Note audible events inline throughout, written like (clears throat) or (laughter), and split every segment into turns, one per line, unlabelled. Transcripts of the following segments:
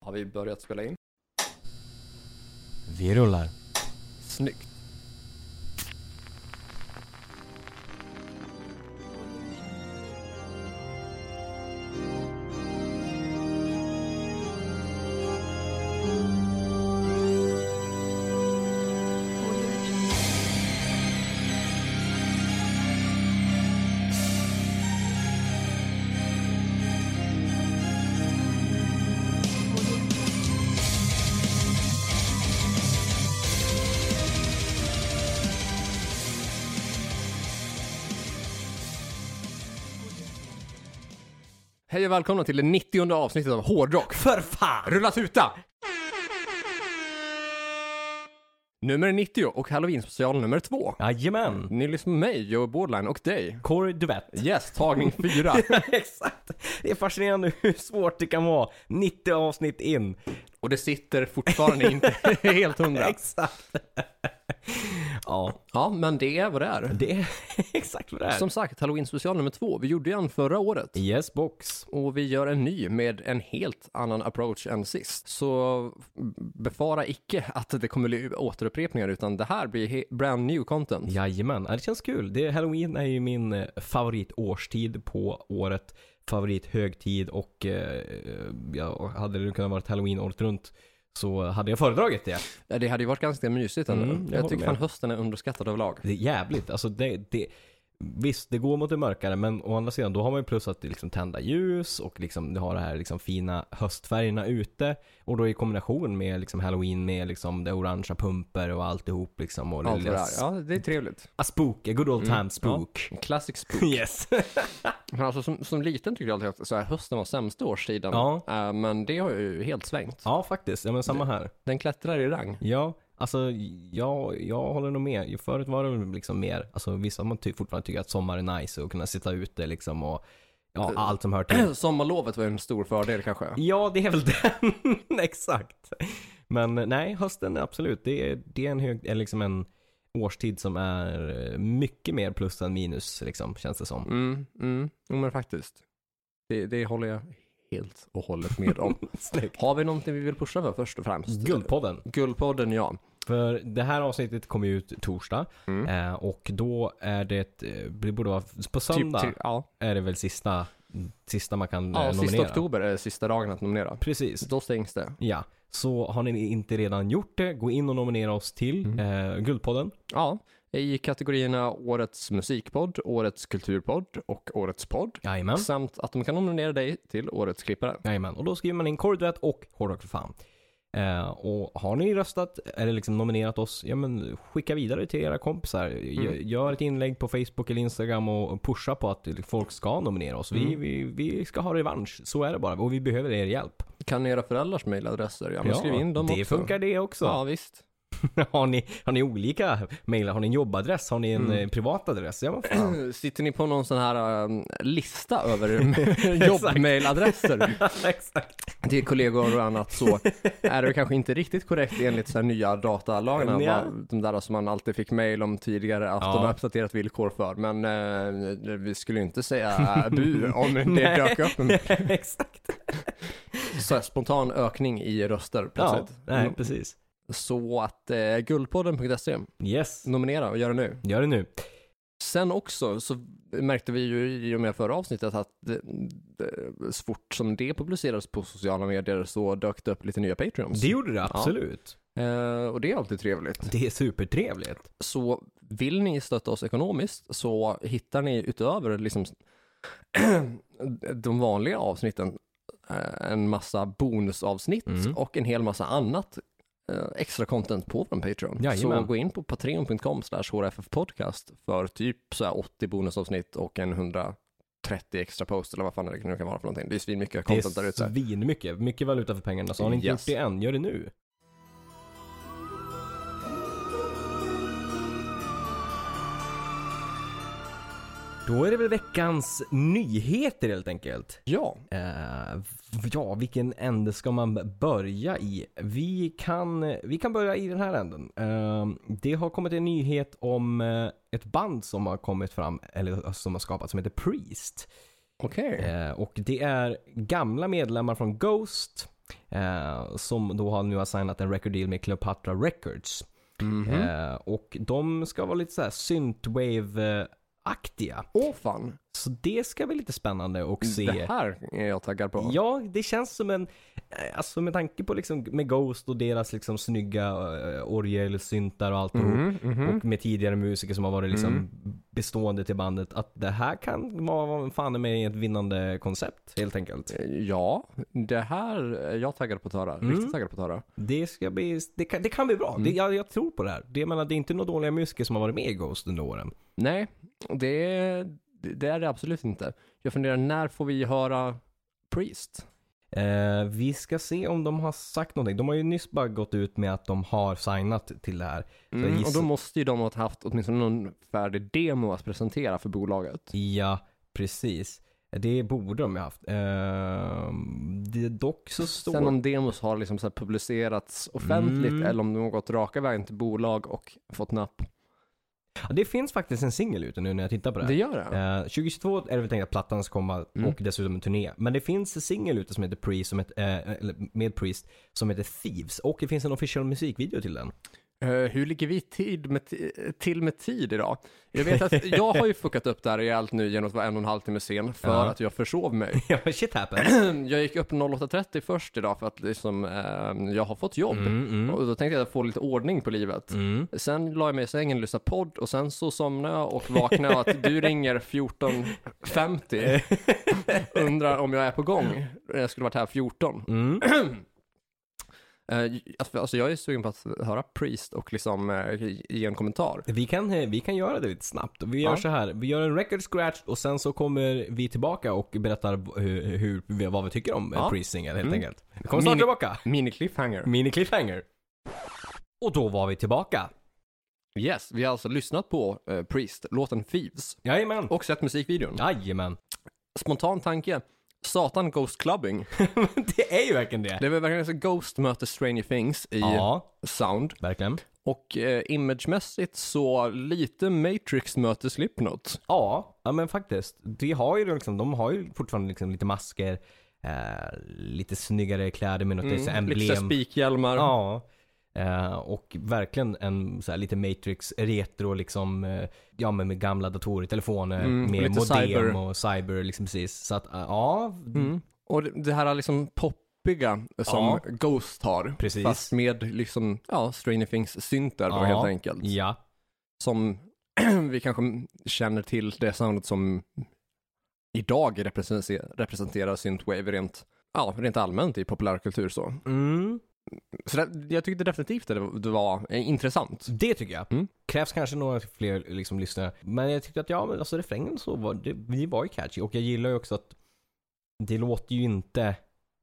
Har vi börjat spela in?
Vi rullar.
Snyggt. Hej och välkomna till det 90 avsnittet av Hårdrock.
För fan!
Rulla tuta! Nummer 90 och Halloween special nummer 2.
Jajamän!
Ni lyssnar på mig, Joe Bordline och dig.
Corey Duvett.
Yes, tagning 4.
(laughs) Exakt! Det är fascinerande hur svårt det kan vara 90 avsnitt in.
Och det sitter fortfarande inte (laughs) helt hundra.
Exakt! (laughs) ja,
Ja, men det är vad det är.
det är (laughs) exakt vad det är.
Som sagt, Halloween special nummer 2. Vi gjorde ju en förra året.
Yes box.
Och vi gör en ny med en helt annan approach än sist. Så befara icke att det kommer bli återupprepningar utan det här blir he- brand new content.
Jajamän, Ja, det känns kul. Det, Halloween är ju min eh, favoritårstid på året. Favorithögtid och eh, ja, hade det kunnat vara Halloween året runt så hade jag föredragit det.
Det hade ju varit ganska mysigt ändå.
Mm, jag
jag
håller
tycker
med.
fan hösten är underskattad överlag.
Det är jävligt. Alltså det, det, visst, det går mot det mörkare men å andra sidan då har man ju plus att det liksom tända ljus och liksom du har det här liksom fina höstfärgerna ute. Och då i kombination med liksom halloween med liksom det orangea pumper och alltihop liksom. Och
Allt det
lilla
där. Ja, Mm, det är trevligt.
A spook, a good old time spook. (laughs)
En Classic spook.
Yes.
Men alltså som, som liten tyckte jag alltid att så här, hösten var sämsta årstiden.
Ja.
Eh, men det har ju helt svängt.
ja faktiskt, ja men samma här.
Den klättrar i rang. (clears throat)
Ja, alltså jag, jag håller nog med. Ju Förut var det väl liksom mer, alltså vissa man ty- fortfarande tycker att sommar är nice och kunna sitta ute liksom och ja,
Eh,
allt som hör till.
Sommarlovet var ju en stor fördel kanske.
Ja, det är väl (laughs) den. Exakt. Men eh, nej, hösten är absolut. Det är, det är en, hög, eller liksom en årstid som är eh, mycket mer plus än minus, liksom, känns
(laughs)
det som.
Mm, mm. Jo, men faktiskt. Det, det håller jag helt och hållet med om.
Snyggt.
Har vi någonting vi vill pusha för först och främst?
Guldpodden.
Guldpodden, ja.
För det här avsnittet kommer ju ut torsdag eh, och då är det, eh, det borde vara på söndag
Mm. Typ, till, ja,
är det väl sista, sista man kan eh,
ja
nominera.
sista oktober är sista dagen att nominera.
Precis.
Då stängs det.
Ja, så har ni inte redan gjort det, gå in och nominera oss till
Mm.
eh, Guldpodden.
Ja, i kategorierna Årets musikpodd, Årets kulturpodd och Årets podd.
Jajamän.
Samt att de kan nominera dig till Årets klippare.
Jajamän, och då skriver man in Korduett och Hårdrock för fan. Eh, och har ni röstat eller liksom nominerat oss, ja men skicka vidare till era kompisar. Gö-
Mm.
Gör ett inlägg på Facebook eller Instagram och och pusha på att folk ska nominera oss. Vi,
Mm.
vi, vi ska ha revansch, så är det bara. Och vi behöver er hjälp.
Kan era föräldrars mejladresser? Ja, men skriv in dem
det
också.
funkar det också.
Ja, visst.
(laughs) har, ni, har ni olika mejl? Har ni en jobbadress? Har ni en
Mm.
eh, privat adress? Ja, vad
(clears throat)
fan.
Sitter ni på någon sån här um, lista över
(laughs)
jobbmailadresser (laughs)
Exakt.
till kollegor och annat
(laughs)
så är det kanske inte riktigt korrekt enligt så här nya datalagarna.
Nja.
va? De där som man alltid fick mail om tidigare att
Ja.
de har uppdaterat villkor för. Men eh, vi skulle ju inte säga
(laughs)
bu om det dök upp en
Exakt.
så här spontan ökning i röster
Ja,
plötsligt. Mm.
nej, precis.
Så att eh, guldpodden.se,
Yes,
nominera och gör det nu.
gör det nu.
Sen också så märkte vi ju i och med förra avsnittet att det, det, så fort som det publicerades på sociala medier så dök det upp lite nya Patreons.
Det gjorde det absolut.
Eh, och det är alltid trevligt.
(laughs) Det är supertrevligt.
Så vill ni stötta oss ekonomiskt så hittar ni utöver liksom (clears throat) de vanliga avsnitten eh, en massa bonusavsnitt
Mm.
och en hel massa annat eh, extra content på vår Patreon.
Jajamän.
Så gå in på patreon.com podcast för typ så här 80 bonusavsnitt och en 130 extra post eller vad fan det nu kan vara för någonting. Det är svinmycket
Det
content där
är
ute.
svinmycket. Mycket valuta för pengarna. Så har ni inte
Yes.
gjort det än, gör det nu. Då är det väl veckans nyheter helt enkelt.
Ja,
Eh, ja, vilken ände ska man börja i? Vi kan, vi kan börja i den här änden. Eh, det har kommit en nyhet om eh, ett band som har kommit fram, eller som har skapats, som heter Priest.
okej.
Eh, och det är gamla medlemmar från Ghost Eh, som då har nu har signat en record deal med Cleopatra Records.
Mhm.
Eh, och de ska vara lite så här synthwave-aktiga.
Åh fan.
Så det ska bli lite spännande att se.
Det här är jag taggad på.
Ja, det känns som en, eh, alltså med tanke på liksom med Ghost och deras liksom snygga eh, orgelsyntar och allt
Mhm, mhm.
och med tidigare musiker som har varit liksom
Mm.
bestående till bandet, att det här kan vara fan med ett vinnande koncept helt enkelt.
Eh, Ja, det här är jag taggad på att höra. Riktigt
Mm.
taggad på att höra.
Det, ska bli, det, kan, det kan bli bra,
Mm.
det, jag, jag tror på det här. Det, jag menar, det är inte några dåliga musiker som har varit med i Ghost under åren.
Nej, det, det är det absolut inte. Jag funderar, när får vi höra Priest?
Eh, vi ska se om de har sagt någonting. De har ju nyss bara gått ut med att de har signat till det här. Så jag
Mm, och
gissar-
då måste ju de ha haft åtminstone någon färdig demo att presentera för bolaget.
Ja, precis. Det borde de ju haft. Ehm, det är dock så står...
Sen om demos har liksom så här publicerats offentligt
Mm.
eller om de har gått raka vägen till bolag och fått napp.
Ja, Det finns faktiskt en singel ute nu när jag tittar på det.
Det
här.
gör det.
Eh, 2022 är det väl tänkt att plattan ska komma
Mm.
och dessutom en turné. Men det finns en singel ute som heter Priest, som heter, eh, eller med Priest som heter Thieves och det finns en official musikvideo till den.
Eh, hur ligger vi tid med ti- till med tid idag? Jag vet (laughs) att jag har ju fuckat upp det här rejält nu genom att vara en och en halv timme sen för
Ja.
att jag försov mig.
(laughs) Ja, shit happens.
(clears throat) jag gick upp 08.30 först idag för att liksom, eh, jag har fått jobb.
Mm, mm.
Och då tänkte jag få lite ordning på livet.
Mm.
Sen la jag mig i sängen och lyssnade podd och sen så somnade jag och vaknade av att du ringer
(laughs)
14.50. Undrar om jag är på gång. Jag skulle varit här 14.
Mm.
Eh, alltså jag är sugen på att höra Priest och liksom eh, ge en kommentar.
Vi kan, eh, vi kan göra det lite snabbt. Vi gör
Ja.
så här. Vi gör en record scratch och sen så kommer vi tillbaka och berättar v- hur, hur, vi- vad vi tycker om ja.
Ja.
Priest Singer helt
Mm.
enkelt. Vi kommer snart
Mini-
tillbaka.
Mini cliffhanger.
Mini cliffhanger. Och då var vi tillbaka.
Yes, vi har alltså lyssnat på eh, Priest, låten Thieves
Jajamän.
och sett musikvideon.
Jajamän.
Spontan tanke, Satan Ghost Clubbing.
(laughs) det är ju verkligen det.
Det var verkligen så Ghost möter Stranger Things i
Ja,
sound.
verkligen.
Och eh, imagemässigt så lite Matrix möter Slipknot.
Ja, ja men faktiskt. Det har ju liksom, de har ju fortfarande liksom lite masker, eh, lite snyggare kläder med något så här emblem.
Mm. Lite så här spikhjälmar.
Ja. Eh, och verkligen en så här, lite Matrix retro liksom, eh, ja men med gamla datorer, telefoner,
Mm, och
med
lite
modem
cyber.
och cyber liksom precis. Så att, eh, ja,
Mm. Och det- det här är liksom poppiga som
Ja.
Ghost har.
Precis.
Fast med liksom, ja, Stranger Things-syntar då
Ja.
helt enkelt.
ja.
Som (clears throat) vi kanske känner till det soundet som idag representer- representerar Synthwave rent, ja, rent allmänt i populärkultur så.
Mm.
Så det, jag tyckte definitivt att det, det var eh, intressant.
Det tycker jag.
Mm.
Krävs kanske några fler liksom, lyssnare. Men jag tyckte att ja, men alltså refrängen så var det, vi var ju catchy. Och jag gillar ju också att det låter ju inte,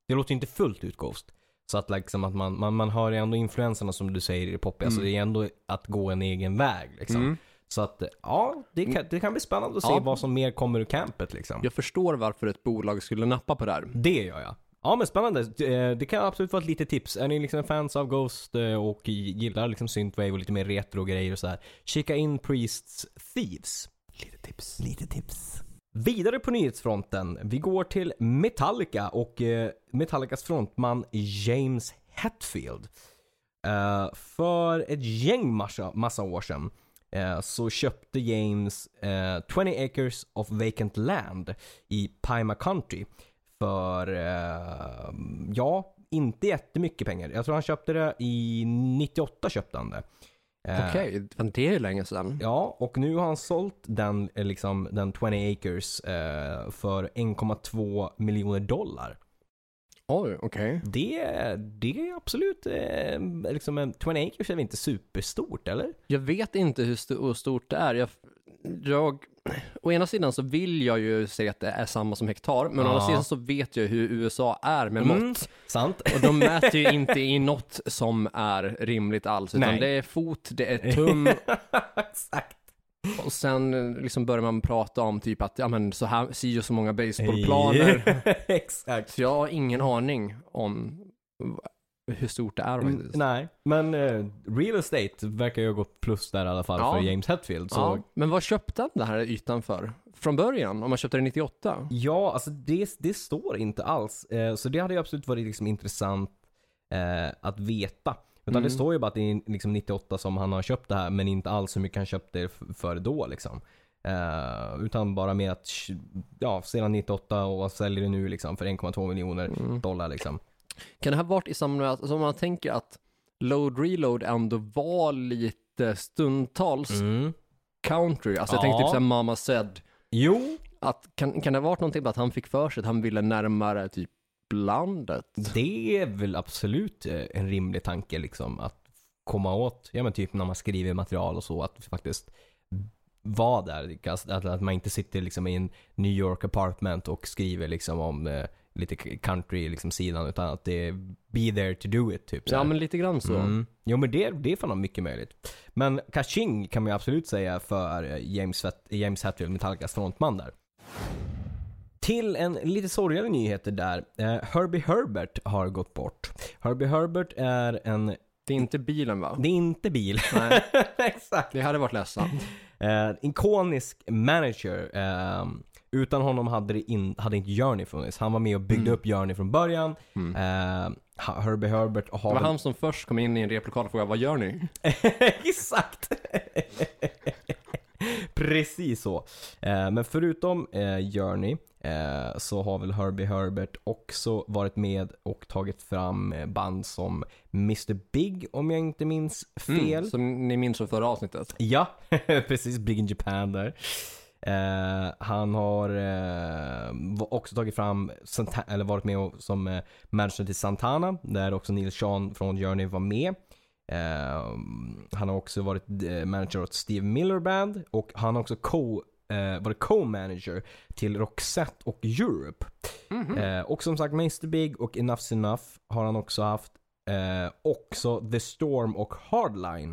det låter ju inte fullt ut Ghost. Så att liksom att man, man, man hör ju ändå influenserna som du säger i poppy. Alltså
Mm.
det är ändå att gå en egen väg liksom.
Mm.
Så att ja, det kan, det kan bli spännande att se
Ja.
vad som mer kommer ur campet liksom.
Jag förstår varför ett bolag skulle nappa på det här.
Det gör jag. Ja men spännande. Eh, Det kan absolut vara ett litet tips. Är ni liksom fans av Ghost eh, och gillar liksom Synthwave och lite mer retro grejer och så här. Kika in Priests Thieves. Lite tips. Lite tips. Vidare på nyhetsfronten. Vi går till Metallica och eh, Metallicas frontman James Hetfield. Eh, För ett gäng massa, massa år sedan eh, så köpte James eh, 20 acres of vacant land i Pima County för, eh, ja, inte jättemycket pengar. Jag tror han köpte det i 98 köpte han det. Eh,
Okej, men det är ju länge sedan.
Ja, och nu har han sålt den, eh, liksom, den 20 acres eh, för 1,2 miljoner dollar.
Oj, okej.
Det, det är absolut, eh, liksom, en- 20 acres är väl inte superstort eller?
Jag vet inte hur sto- stort det är. Jag, jag, å ena sidan så vill jag ju säga att det är samma som hektar, men å andra
Ja.
sidan så vet jag hur USA är med
Mm.
mått.
Sant.
Och de mäter ju inte i något som är rimligt alls, utan
Nej.
det är fot, det är tum
Exakt.
och sen eh, liksom börjar man prata om typ att ja men så här, si och så många baseballplaner.
(laughs) Exakt.
Så jag har ingen aning om v- hur stort det är faktiskt.
Mm, Nej, men eh, real estate verkar ju ha gått plus där i alla fall
Ja.
för James Hetfield. Så
Ja, men vad köpte han den här ytan för? från början, om man köpte det 98?
Ja, alltså det, det står inte alls. Eh, så det hade ju absolut varit liksom intressant eh, att veta. Utan det
Mm.
står ju bara att det är liksom 98 som han har köpt det här, men inte alls hur mycket han köpte det f- för då. Liksom. Eh, utan bara mer att tj- ja, sedan 98 och han säljer det nu liksom, för 1,2 miljoner
Mm.
dollar. Liksom.
Kan det här varit i samband med, att- alltså om man tänker att load reload ändå var lite stundtals country, alltså jag tänkte
Mm. Ja.
typ såhär Mama said,
Jo,
att kan, kan det ha varit någonting med att han fick för sig att han ville närmare typ landet?
det är väl absolut eh, en rimlig tanke liksom, att komma åt, ja men typ när man skriver material och så, att faktiskt vara där. Att, att- att man inte sitter liksom i en New York apartment och skriver liksom om eh, lite country liksom, sidan utan att det är be there to do it typ. så
Ja
här.
men lite grann så.
Mm. Jo men det, det är fan mycket möjligt. Men Kaching kan man ju absolut säga för eh, James, Hat- James Hetfield, Metallicas frontman där. Till en lite sorgligare nyheter där. Eh, Herbie Herbert har gått bort. Herbie Herbert är en...
Det är inte bilen va?
Det är inte bil.
Nej,
(laughs) Exakt.
det hade varit ledsamt.
Eh, ikonisk manager. Eh, utan honom hade, det in, hade inte Journey funnits. Han var med och byggde upp Journey från början.
Mm.
Eh, Ha- Herbie Herbert har...
Det var
väl-
han som först kom in i en replokal och frågade vad gör ni?
(laughs) Exakt! Precis så. Eh, men förutom eh, Journey eh, så har väl Herbie Herbert också varit med och tagit fram eh, band som Mr. Big om jag inte minns fel.
Mm, som ni minns från förra avsnittet.
Ja, (laughs) precis. Big in Japan där. Eh, han har eh, va- också tagit fram, Santa- eller varit med och, som eh, manager till Santana, där också Neil Sean från Journey var med. Eh, han har också varit eh, manager åt Steve Miller Band och han har också co, eh, varit co-manager till Roxette och Europe. Eh, och som sagt Mr Big och Enough's Enough har han också haft. Eh, också The Storm och Hardline.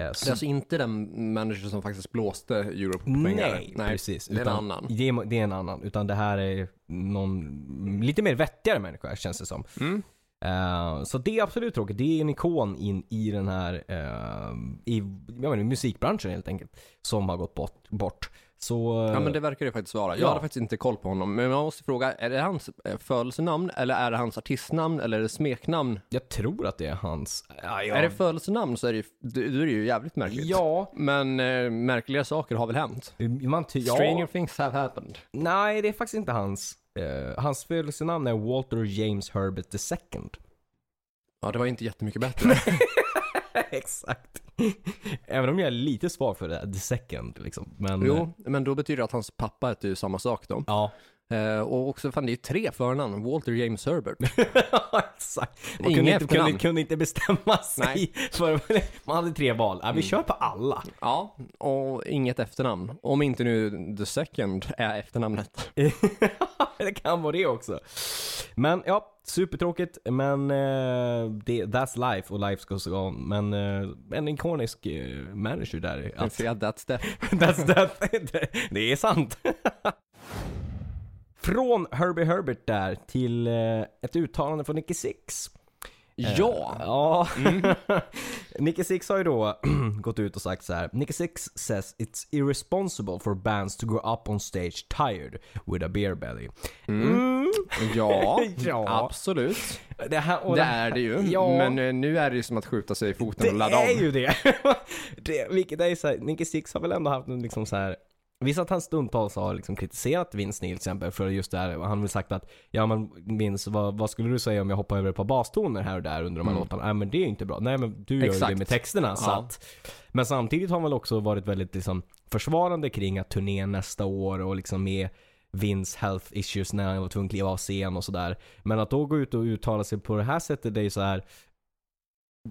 Det är alltså inte den manager som faktiskt blåste Europe på pengar.
Nej, precis.
Det är en
Utan-
annan.
Det är, det är en annan. Utan det här är någon lite mer vettigare människa känns det som.
Mm.
Eh, så det är absolut tråkigt. Det är en ikon in i den här eh, i, jag menar, musikbranschen helt enkelt. Som har gått bort. bort. Så eh,
Ja men det verkar det faktiskt vara. Jag
Ja.
hade faktiskt inte koll på honom. Men man måste fråga, är det hans eh, födelsenamn eller är det hans artistnamn eller är det smeknamn?
jag tror att det är hans... Ja, jag-
Är det födelsenamn så är det, ju- då då är det ju jävligt märkligt.
ja,
Men eh, märkliga saker har väl hänt?
man ty- ja.
Stranger things have happened.
Nej, det är faktiskt inte hans. Eh, hans födelsenamn är Walter James Herbert II.
Ja, det var inte jättemycket bättre.
Exakt. Även om jag är lite svag för det här, the second liksom. Men,
jo, men då betyder det att hans pappa heter ju samma sak då.
Ja.
Eh, och också, fan det är ju tre förnamn. Walter James Herbert.
Exakt. Man
Inga
kunde inte,
efternamn.
kunde, kunde inte bestämma sig. För, man hade tre val. Ja, vi kör på alla.
Ja, och inget efternamn. Om inte nu the second är (laughs) efternamnet.
det kan vara det också. Men ja, supertråkigt. Men eh, det, that's life och life goes on. Men eh, en ikonisk eh, manager där.
Att säga that's death.
That's death. Det- Det är sant. Från Herbie Herbert där till eh, ett uttalande från Nicky Six.
Eh,
Eh,
Ja,
Ja. (laughs) Nicky Six har ju då (clears throat) gått ut och sagt så här. Nicky Six says it's irresponsible for bands to go up on stage tired with a beer belly. Mm.
(laughs) ja,
Ja.
absolut.
Det, här, och
Det är det ju.
Ja.
Men eh, nu är det ju som att skjuta sig i foten och
Det
ladda
är
om.
ju det. (laughs) det. Vilket är så här, Nicky Six har väl ändå haft en liksom så här. Visst att han stundtals har liksom kritiserat Vince Neil till exempel för just det här. Han har väl sagt att, ja men Vince, vad, vad skulle du säga om jag hoppar över ett par bastoner här och där under de här låtarna? Nej men det är ju inte bra. Nej men du gör ju
Mm. Exakt.
det med texterna. Så
Ja.
att, men samtidigt har han väl också varit väldigt liksom, försvarande kring att turnén nästa år och liksom med Vince health issues när han var tvungen att kliva av scen och sådär. Men att då gå ut och uttala sig på det här sättet, det är ju så här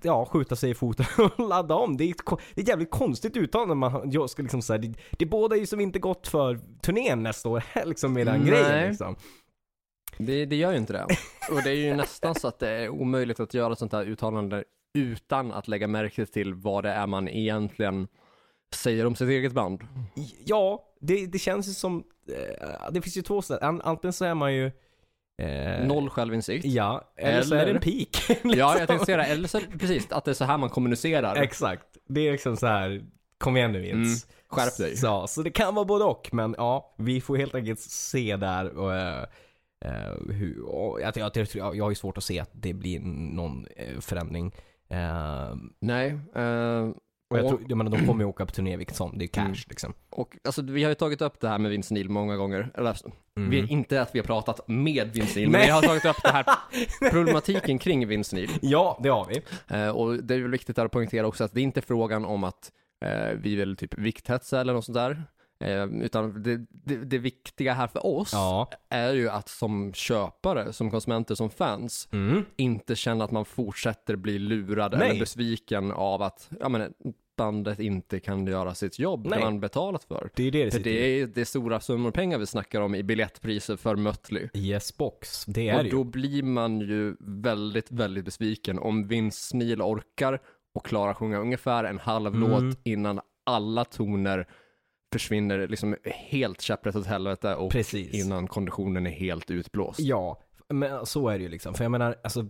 ja, skjuta sig i foten (laughs) och ladda om. Det är ett, ko- det är ett jävligt konstigt uttalande. Man, jag ska liksom så här, det, det båda är ju som inte gott för turnén nästa år (laughs) liksom med den
Nej.
grejen. Liksom.
Det, det gör ju inte det. (laughs) Och det är ju nästan så att det är omöjligt att göra sånt här uttalande utan att lägga märke till vad det är man egentligen säger om sitt eget band.
(laughs) Ja, det, det känns ju som, eh, det finns ju två sätt. An- Antingen så är man ju eh,
Noll (laughs) självinsikt.
Ja, eller så är det en
Eller-
(laughs) peak.
Liksom. Ja, jag tänkte säga det. Eller så, precis, att det är så här man kommunicerar.
Exakt. Det är liksom så här Kom igen
Mm.
nu Jens.
Skärp dig.
Så, så det kan vara både och, men ja, vi får helt enkelt se där. Och, eh, eh, hur, och, jag, jag, jag, jag jag har ju svårt att se att det blir någon eh, förändring. Eh,
Nej. eh,
och jag
och- Mm.
tror, jag menar, de kommer ju åka på turné vilket som, det är cash liksom.
Och alltså, vi har ju tagit upp det här med Vince Neil många gånger. Eller, alltså, vi, inte att vi har pratat med Vince Neil, men
Mm. Nej.
vi har tagit upp
(laughs)
det här problematiken kring Vince Neil.
Ja, det har vi.
Eh, och det är väl viktigt att poängtera också att det är inte frågan om att eh, vi vill typ vikthetsa eller något sånt där. Eh, utan det, det, det viktiga här för oss
Ja.
är ju att som köpare, som konsumenter, som fans
Mm.
inte känna att man fortsätter bli lurad
Nej.
eller besviken av att ja, men, bandet inte kan göra sitt jobb
Nej.
det man betalat för.
Det är ju det det
För
sitter i.
det är, det är stora summor pengar vi snackar om i biljettpriser för Mötley.
Yes box, det är
Och
det
då
ju.
blir man ju väldigt, väldigt besviken om Vince Neil orkar och klarar sjunga ungefär en halv
Mm.
låt innan alla toner försvinner liksom helt käpprätt åt helvete och
Precis.
innan konditionen är helt utblåst.
Ja, men så är det ju liksom. För jag menar, alltså,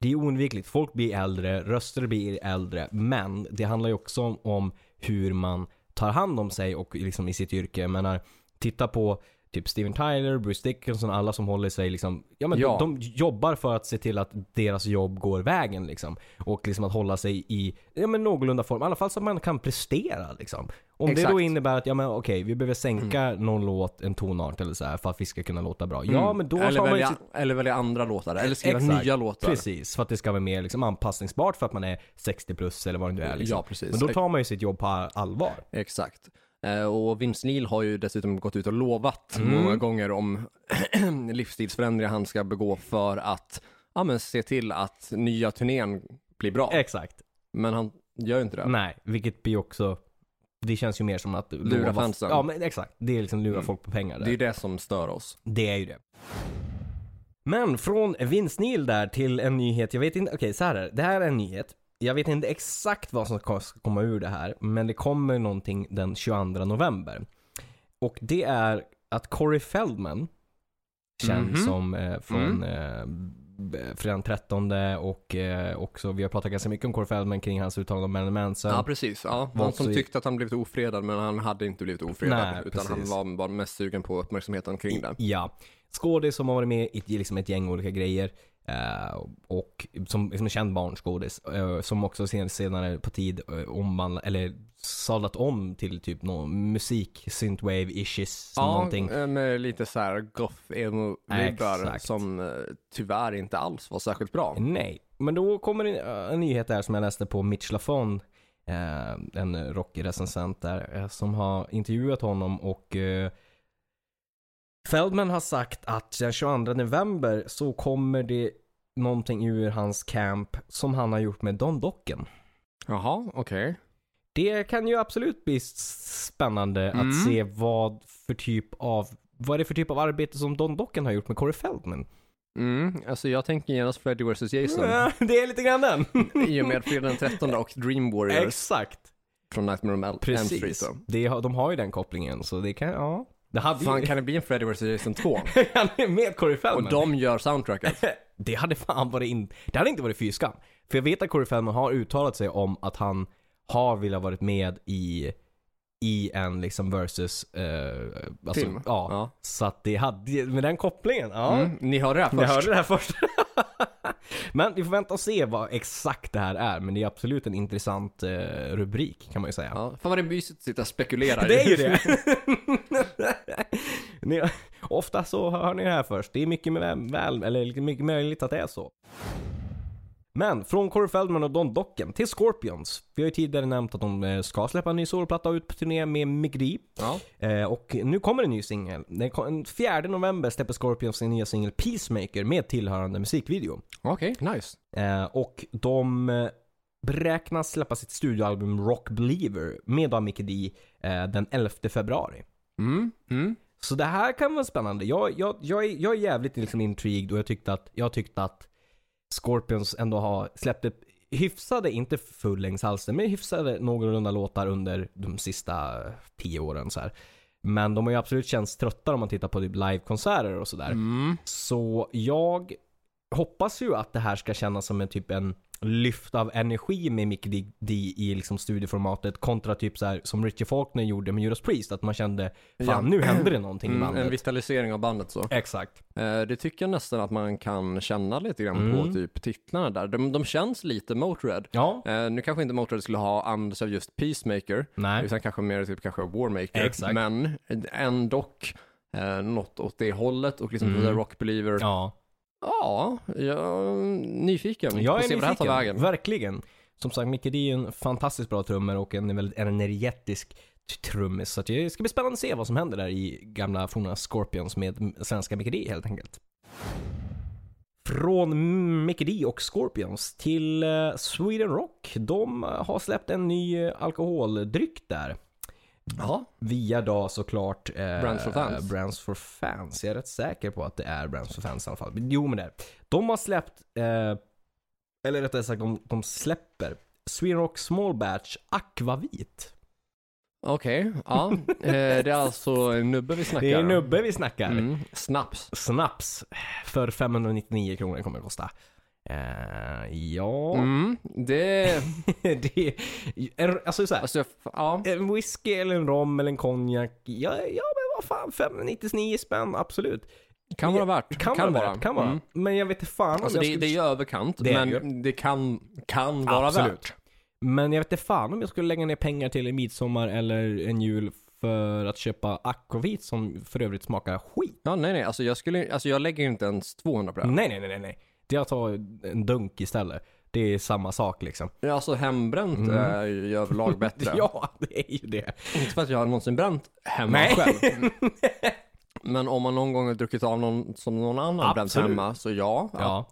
det är oundvikligt. Folk blir äldre, röster blir äldre. Men det handlar ju också om, om hur man tar hand om sig och liksom i sitt yrke. Jag menar, titta på typ Steven Tyler, Bruce Dickinson, alla som håller sig liksom. Ja, men
Ja.
De, de jobbar för att se till att deras jobb går vägen liksom. Och liksom att hålla sig i ja, men någorlunda form. I alla fall så att man kan prestera liksom. Om det då
Exakt. Mm.
innebär att, ja men okej, vi behöver sänka någon låt, en tonart eller så här för att vi ska kunna låta bra. Ja, men då
eller,
tar man ju
välja,
sitt...
eller välja andra låtar, eller skriva
Exakt.
nya låtar.
Precis, för att det ska vara mer liksom anpassningsbart för att man är 60 plus eller vad det nu är. Liksom.
Ja, precis.
Men då tar man ju sitt jobb på all- allvar.
Exakt. Eh, Och Vince Neil har ju dessutom gått ut och lovat
Mm.
många gånger om (clears throat) livsstilsförändringar han ska begå för att ja, men se till att nya turnén blir bra.
Exakt.
Men han gör ju inte det.
Nej, vilket blir också... Det känns ju mer som att...
Lura
lova-
fansen. Mm.
Ja, men exakt. Det är liksom lura folk på pengar. Där.
Det är ju det som stör oss.
Det är ju det. Men från Vince Neil där till en nyhet. Jag vet inte, okej så här är det. Det här är en nyhet. Jag vet inte exakt vad som ska ska komma ur det här, men det kommer någonting den 22 november. Och det är att Corey Feldman, känd
Mhm.
som eh, från eh, b- Fredagen 13 och eh, också, vi har pratat ganska mycket om Corey Feldman kring hans uttalande om Marilyn Manson.
Ja, precis. Ja,
Var
han som
också i-
tyckte att han blivit ofredad, men han hade inte blivit ofredad.
Nej,
utan han
precis.
var bara mest sugen på uppmärksamheten kring det.
Ja. Skådis som har varit med i ett- liksom ett gäng olika grejer. eh, och som, som är känd barnskådis. eh, som också sen, senare på tid uh, omvandlat, eller sadlat om till typ någon musik, synthwave issues
Ja,
någonting.
eh, med lite så här goth emo vibbar
Exakt.
som eh, tyvärr inte alls var särskilt bra.
Nej. Men då kommer en, eh, en nyhet där som jag läste på Mitch Lafon. eh, en rockrecensent där. eh, som har intervjuat honom och eh, Feldman har sagt att den 22 november så kommer det någonting ur hans camp som han har gjort med Don Docken.
Jaha, okej.
Det kan ju absolut bli s- spännande
Mm.
att se vad för typ av vad är det för typ av arbete som Don Docken har gjort med Corey Feldman?
Mm, alltså jag tänker genast Freddy vs Jason.
(laughs) Det är lite grann den.
I och med Fredag den 13 och Dream Warriors
Exakt.
från Nightmare on Elm Street.
Precis.
då.
Det, har- de har ju den kopplingen, så det kan, ja. Det hade
liksom. Fan,
ju...
kan det bli en Freddy vs Jason 2?
(laughs) Han är med Corey
Och
Feldman.
de gör soundtracket.
Det hade fan varit in... Det hade inte varit fy skam. För jag vet att Corey Feldman har uttalat sig om att han har velat varit med i, i en liksom versus... Eh, alltså,
Film.
Ja,
Ja.
Så att det hade... Med den kopplingen, ja.
Mm, ni hörde det här först.
Jag hörde det här först. (laughs) men vi får vänta och se vad exakt det här är. Men det är absolut en intressant eh, rubrik kan man ju säga.
Ja, fan vad det är mysigt att sitta och spekulera.
Det är ju det. (laughs) ni, ofta så hör ni det här först. Det är mycket, med, väl, eller lite mycket möjligt att det är så. Men från Corey Feldman och Don Docken till Scorpions. Vi har ju tidigare nämnt att de eh, ska släppa en ny soloplatta ut på turné med Migri.
Ja.
Eh, och nu kommer en ny singel. Den kom- den 4 november släpper Scorpions sin nya singel Peacemaker med tillhörande musikvideo.
Okej, nice.
Eh, och de eh, beräknas släppa sitt studioalbum Rock Believer med då Mickey D eh, den 11 februari.
Mm, mm.
Så det här kan vara spännande. Jag, jag, jag, är, jag är jävligt liksom intrigued och jag tyckte att, jag tyckte att Scorpions ändå har släppt upp hyfsade, inte fullängdshalsen, men hyfsade någorlunda låtar under de sista tio åren så här. Men de har ju
mm,
absolut känts trötta om man tittar på typ livekonserter och sådär. Så jag hoppas ju att det här ska kännas som en typ en lyft av energi med Mick D, D i liksom studioformatet kontra typ så här som Richie Faulkner gjorde med Judas Priest. Att man kände fan
Ja.
nu händer det någonting i
Mm,
bandet.
en vitalisering av bandet så.
Exakt.
Eh, Det tycker jag nästan att man kan känna lite grann
Mm.
på typ titlarna där. De, de känns lite Motörhead.
Ja.
Eh, nu kanske inte Motörhead skulle ha använt sig av just Peacemaker,
Nej.
utan kanske mer typ kanske Warmaker.
Exakt.
Men ändå eh, något åt det hållet och liksom
Mm.
mm. Rock Believer. Ja,
Ja.
jag är nyfiken
Jag
på
är
att se vad det här tar
nyfiken.
vägen.
Verkligen. Som sagt, Micke D är en fantastiskt bra trummer och en väldigt energetisk t- trummis. Så att det ska bli spännande att se vad som händer där i gamla forna Scorpions med svenska Micke D helt enkelt. Från Micke D och Scorpions till eh, Sweden Rock. De eh, har släppt en ny eh, alkoholdryck där.
Ja.
Via då såklart eh,
Brands for Fans.
Brands for Fans. Jag är rätt säker på att det är Brands for Fans i alla fall. Jo men det är. De har släppt, eh, eller rättare sagt de, de släpper Sweden Rock Small Batch Aquavit.
Okej,
(laughs)
ja. Eh, Det är alltså en nubbe vi snackar.
Det är nubbe vi snackar.
Mm. Snaps.
Snaps för 599 kronor kommer det kosta. Eh, ja,
Mm. Det,
(laughs) det är, är- alltså så här,
alltså, jag- ja.
En whisky eller en rom eller en konjak. Ja, ja men vad fan, 599 spänn, absolut.
Kan vara värt.
Kan, vara värt, kan vara.
Mm.
Men jag vet inte fan om
Alltså
jag
det,
skulle...
det är ju överkant,
Det är
men det kan, kan vara
Absolut.
värt.
Men jag vet inte fan om jag skulle lägga ner pengar till en midsommar eller en jul för att köpa akvavit som för övrigt smakar skit.
Ja, nej, nej. Alltså jag, skulle, alltså jag lägger ju inte ens 200 på det.
Nej, nej, nej, nej, nej. Det jag tar en dunk istället. Det är samma sak liksom.
Mm. Alltså hembränt
Mm.
är ju
(laughs)
överlag bättre.
Ja, det är ju det.
Inte för att jag har någonsin bränt hemma
Nej.
själv. (laughs) Men om man någon gång har druckit av någon som någon annan bränt
Absolut.
hemma, så ja, ja.
Ja,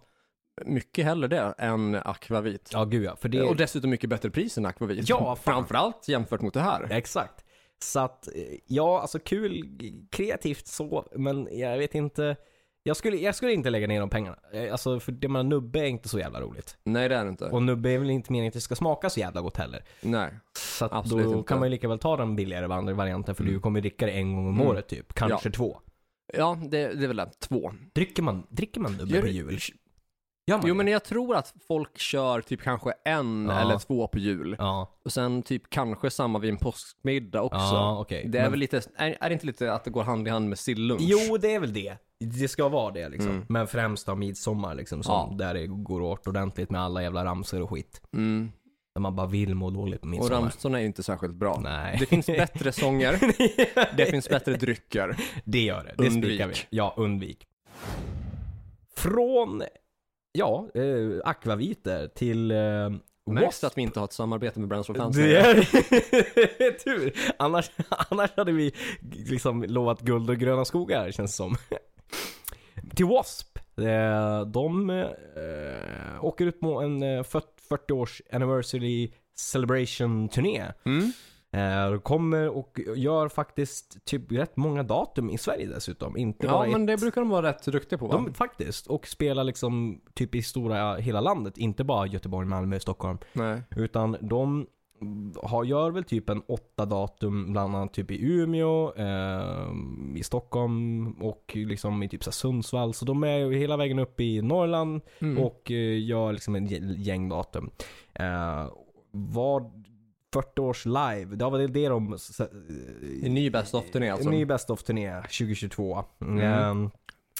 Mycket hellre det än akvavit.
ja gud ja. För det...
Och dessutom mycket bättre pris än akvavit.
Ja, fan.
Framförallt jämfört mot det här.
(laughs) Exakt. Så att, eh, ja, alltså kul, g- kreativt så, men jag vet inte. Jag skulle, jag skulle inte lägga ner de pengarna. Eh, Alltså, för det man nubbe är inte så jävla roligt.
Nej, det är det inte.
Och nubbe är väl inte meningen att det ska smaka så jävla gott heller.
Nej.
Så att
Absolut
då
inte. Mm.
kan man ju lika väl ta den billigare van- varianten, för du kommer dricka det en gång om året typ. Kanske två.
Ja, det, det är väl det. Två.
Dricker man, dricker man nubbe
Gör-
på jul? Gör man
Jo
det?
men jag tror att folk kör typ kanske en
Ja.
eller två på jul.
Ja,
Och sen typ kanske samma vid en påskmiddag också.
ja okej.
Det är
Men-
väl lite, är, är det inte lite att det går hand i hand med sillunch?
Jo, det är väl det. Det ska vara det liksom. Men främst av midsommar liksom, som,
Mm. Ja.
där det går åt ordentligt med alla jävla ramsor och skit.
Mm.
När man bara vill må dåligt på
Och
midsommar.
ramsorna är inte särskilt bra.
Nej.
Det
(laughs)
finns bättre sånger, det finns bättre drycker.
Det gör det. Det spikar vi.
Undvik.
Ja, undvik. Från, ja, eh, akvaviter till eh,
Märks
wasp.
det att vi inte har ett samarbete med Brands for Fans?
Det
längre?
(laughs) är tur. Annars, (laughs) annars hade vi liksom lovat guld och gröna skogar känns det som. (laughs) Till W.A.S.P. Eh, De eh, åker ut på en eh, 40 års anniversary celebration turné.
Mm.
Eh, de kommer och gör faktiskt typ rätt många datum i Sverige dessutom. Inte
Ja
bara ett-
men det brukar de vara rätt duktiga på va?
de, faktiskt. Och spelar liksom typ i stora, hela landet. Inte bara Göteborg, Malmö, Stockholm.
Nej.
Utan de har, gör väl typ en åtta datum, bland annat typ i Umeå, eh, i Stockholm och liksom i typ så här Sundsvall. Så de är ju hela vägen upp i Norrland
Mm.
och eh, gör liksom en gäng- gäng datum. Eh, vad 40 års live, det var väl det de... s- s-
Det är ny best of turné alltså.
Ny Best of turné 2022.
Mm.
Eh,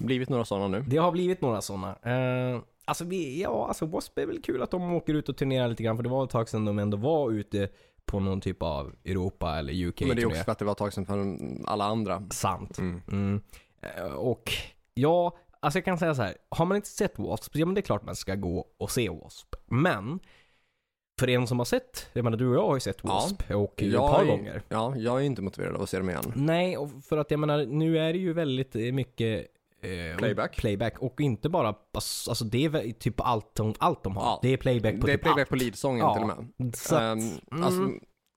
Blivit några sådana nu.
det har blivit några sådana. Eh, alltså, vi, ja, alltså W.A.S.P. är väl kul att de åker ut och turnerar lite grann, för det var ett tag sedan de ändå var ute på någon typ av Europa eller UK
Men det är
turné.
också för att det var ett tag sedan för alla andra.
Sant.
Mm.
Mm. Eh, och ja, alltså jag kan säga så här. Har man inte sett W.A.S.P. ja men det är klart man ska gå och se W.A.S.P. Men, för en som har sett, jag menar du och jag har ju sett
Ja.
W.A.S.P. och ett
Jag
par
är-
gånger.
Ja, jag är inte motiverad av att se dem igen.
Nej, och för att jag menar, nu är det ju väldigt eh, mycket eh,
Playback.
playback. Och inte bara, alltså det är väl typ allt de, allt de har.
Ja.
Det är playback på
det är
typ
playback
allt.
på leadsången
Ja, Mm.
till och med.
Så att,
Ehm, alltså,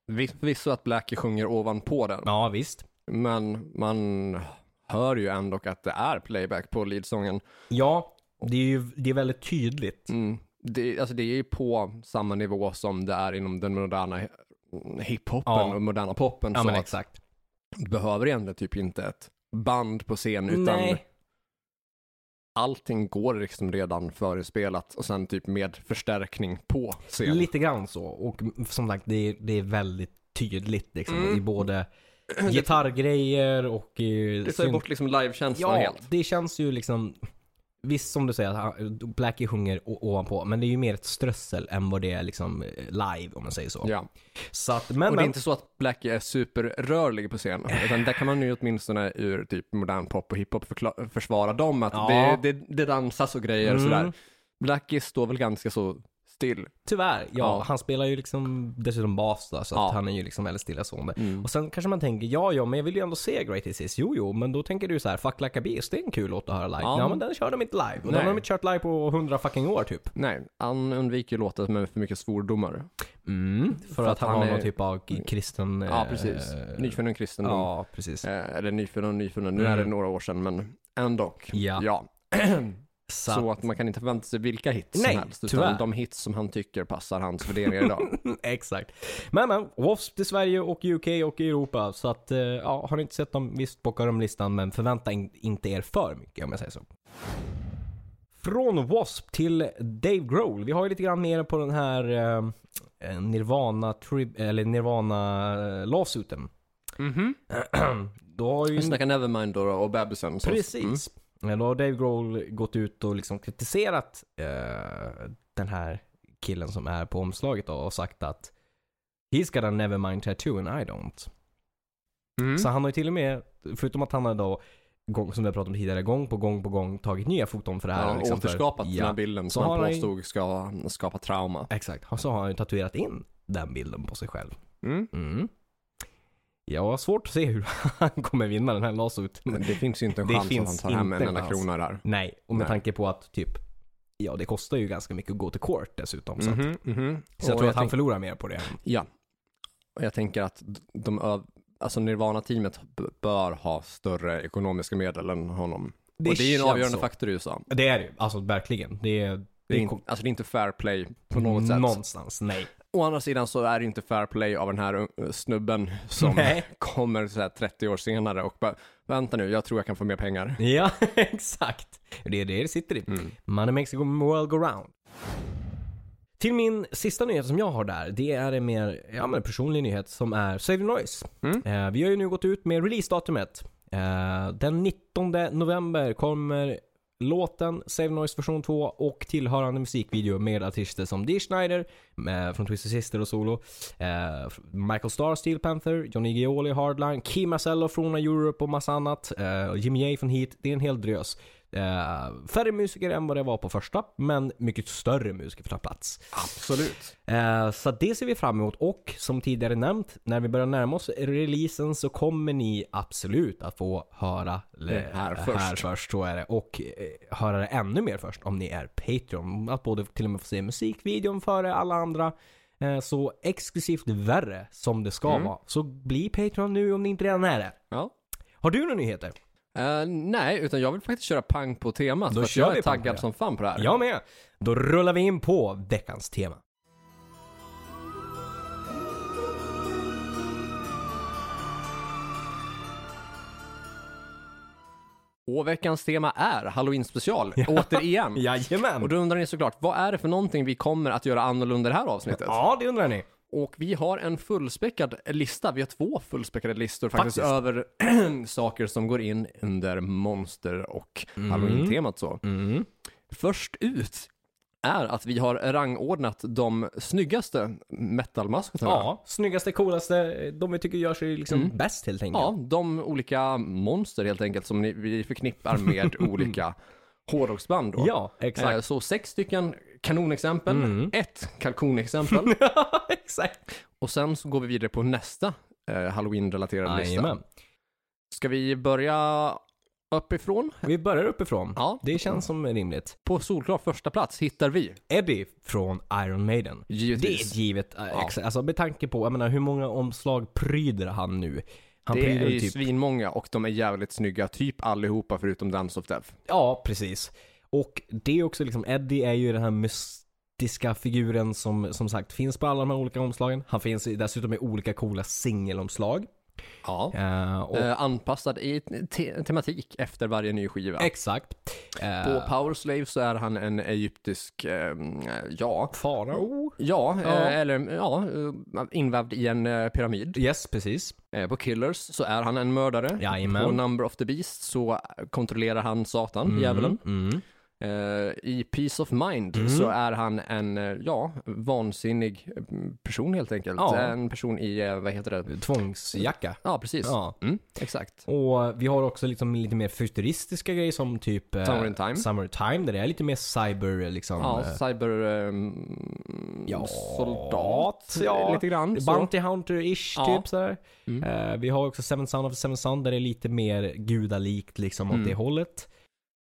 vis- Förvisso att Blackie sjunger ovanpå den,
ja, visst.
men man hör ju ändå att det är playback på leadsången.
Ja, det är ju det är väldigt tydligt.
Mm. Det, alltså det är ju på samma nivå som det är inom den moderna hi- hiphopen
Ja.
och moderna popen.
Ja,
så
men
att
exakt.
behöver egentligen typ inte ett band på scen utan
Nej.
allting går liksom redan förespelat och sen typ med förstärkning på scen.
Lite grann så. Och som sagt, det är, det är väldigt tydligt liksom,
Mm.
i både gitarrgrejer och eh, i...
det tar ju
synt-
bort liksom livekänslan
ja,
helt.
det känns ju liksom... Visst som du säger att han- Blackie sjunger o- ovanpå, men det är ju mer ett strössel än vad det är liksom eh, live om man säger så.
Ja.
Så att, men,
Och det är
men
inte så att Blackie är superrörlig på scen, utan där kan man ju åtminstone ur typ modern pop och hiphop förkla- försvara dem att
Ja.
det, det, det dansas och grejer och
Mm.
sådär. Blackie står väl ganska så still.
tyvärr, ja,
Ja.
han spelar ju liksom dessutom bas då, så
Ja. Mm.
att han är ju liksom väldigt stillastående. Och sen kanske man tänker, ja ja, men jag vill ju ändå se Great Is This. Jo jo, men då tänker du så här, Fuck Like a Beast, det är en kul låt att höra live.
Ja.
Ja, men den kör de inte live. Och
Nej.
den har de inte kört live på hundra fucking år typ.
Nej, han undviker ju låtar med för mycket svordomar. Mm,
För, att, han, har
är-
någon typ av k- kristen...
Ja,
eh,
precis.
eh,
Nyfunnen kristendom.
Ja, precis.
Eh, eller nyfunnen, nyfunnen. Nu är det några år sedan, men ändå.
Ja.
Så, att man kan inte förvänta sig vilka hits
Nej,
som helst, utan
tyvärr.
de hits som han tycker passar hans värderingar idag.
Exakt. Men men, W.A.S.P. i Sverige och UK och i Europa. Så att, eh, ja, har ni inte sett dem, visst bocka dem listan, men förvänta in, inte er för mycket om jag säger så. Från W.A.S.P. till Dave Grohl. Vi har ju lite grann mer på den här eh, Nirvana, tri- eller Nirvana eh, lawsuiten.
Mhm.
(clears throat) Då har ju...
Vi snackar Nevermind då, och bebisen. så- Mm.
Precis. Mm. Då har Dave Grohl gått ut och liksom kritiserat eh, den här killen som är på omslaget då, och sagt att He's got a nevermind tattoo and I don't.
Mm.
Så han har ju till och med, förutom att han har då, gång- som vi har pratat om tidigare, gång på gång på gång tagit nya foton för det här.
Ja,
och liksom för-
återskapat den här
ja,
bilden
Så
som han
har han ju-
påstod ska skapa trauma.
Exakt. Och så har han ju tatuerat in den bilden på sig själv. Mm. Jag har svårt att se hur (laughs) han kommer vinna den här lawsuiten.
Men Det finns ju inte en
Det
chans att han
finns
tar hem en
inte en
enda
chans.
krona där.
Nej, och med
Nej.
tanke på att typ, ja det kostar ju ganska mycket att gå till court dessutom. Så,
Mhm, mhm.
att, så jag
Och
tror att han
tänk-
förlorar mer på det.
Ja. Och jag tänker att d- de öv... alltså Nirvana-teamet b- bör ha större ekonomiska medel än honom. Det och det är ju en
känns
avgörande
så.
faktor i USA.
Det är det ju, alltså verkligen. Det är,
Det är,
kom-
inte, alltså det är inte fair play på något sätt.
Någonstans, nej.
Å andra sidan så är det inte fair play av den här eh, snubben (laughs) som
Nej.
kommer så här 30 år senare och bara, vänta nu, jag tror jag kan få mer pengar.
(laughs) Ja, exakt. Det är det det sitter i. Money makes the world go round. Till min sista nyhet som jag har där, det är en mer ja, men personlig nyhet som är Save the Noise.
Mm.
Eh, vi har ju nu gått ut med releasedatumet. Eh, den 19 november kommer låten Save the Noise version 2 och tillhörande musikvideo med artister som Dee Schneider eh, från Twisted Sister och solo, eh, Michael Starr, Steel Panther, Johnny Gioli, Hardline, Kim Marcello från Europe och massa annat, eh, Jimmy Jay från Heat. Det är en hel drös. Eh, färre musiker än vad det var på första, men mycket större musiker får ta plats.
Absolut.
Eh, Så det ser vi fram emot och som tidigare nämnt, när vi börjar närma oss releasen så kommer ni absolut att få höra eh,
Det här
här
först.
först så är det. Och eh, höra det ännu mer först om ni är Patreon. Att både till och med få se musikvideon före alla andra. Eh, Så exklusivt värre som det ska
Mm.
vara. Så bli Patreon nu om ni inte redan är det.
(laughs) Ja.
Har du några nyheter?
Eh, nej, utan jag vill faktiskt köra pang på temat.
Då
för att
kör
jag är
vi pang på
taggad
det.
som fan på det här.
Jag med. Då rullar vi in på veckans tema.
Och veckans tema är Halloween special,
(laughs)
återigen.
Jajamän.
Och då undrar ni såklart, vad är det för någonting vi kommer att göra annorlunda i det här avsnittet?
Ja, det undrar ni.
Och vi har en fullspäckad lista, vi har två fullspäckade listor faktiskt,
Faktiskt.
över (clears throat) saker som går in under monster och halloween-temat så.
Mm.
Först ut är att vi har rangordnat de snyggaste metalmaskotarna.
Ja, snyggaste, coolaste, de vi tycker gör sig liksom bäst helt enkelt.
Mm. Ja, de olika monster helt enkelt som ni, vi förknippar
(laughs)
med olika hårdrocksband då.
Ja, exakt. (laughs) Mm.
Eh, Så sex stycken kanonexempel, ett kalkonexempel
exakt.
och sen så går vi vidare på nästa eh, halloween-relaterade lista.
Jajamän.
Ska vi börja uppifrån?
Vi börjar uppifrån.
Ja.
Det känns som rimligt.
På solklar första plats hittar vi
Eddie från Iron Maiden. Det är
givetvis.
ett givet. äh, Exakt. Alltså med tanke på, jag menar hur många omslag pryder han nu? Han
Det
pryder
är ju
typ...
svinmånga och de är jävligt snygga, typ allihopa förutom Dance of Death.
Ja, precis. Och det är också liksom, Eddie är ju den här mystiska figuren som som sagt finns på alla de här olika omslagen. Han finns i- dessutom i olika coola singelomslag.
Ja.
Eh, och,
Eh, anpassad i te- tematik efter varje ny skiva.
Exakt. Eh,
På Power Slave så är han en egyptisk, eh, ja,
Farao?
ja,
Ja.
Eh, eller ja, eh, invävd i en eh, pyramid.
Yes, precis.
Eh, på Killers så är han en mördare.
Jajamän.
På Number of the Beast så kontrollerar han Satan,
Mm,
djävulen.
Mm.
Eh, I Peace of Mind
Mm.
så är han en, eh, ja, vansinnig mm, person helt enkelt.
Ja.
En person i, eh, vad heter det?
Tvångsjacka.
Ja, precis.
Ja.
Mm, exakt.
Och vi har också liksom lite mer futuristiska grejer som typ eh,
Summer in Time.
Summer in Time, där det är lite mer cyber liksom.
Ja,
eh,
cyber... Eh,
Ja,
soldat,
ja.
lite grann. så.
Bounty Hunter-ish
Ja.
typ sådär.
Mm.
Eh, vi har också Seven Son of Seven Son där det är lite mer gudalikt liksom åt
Mm.
det hållet.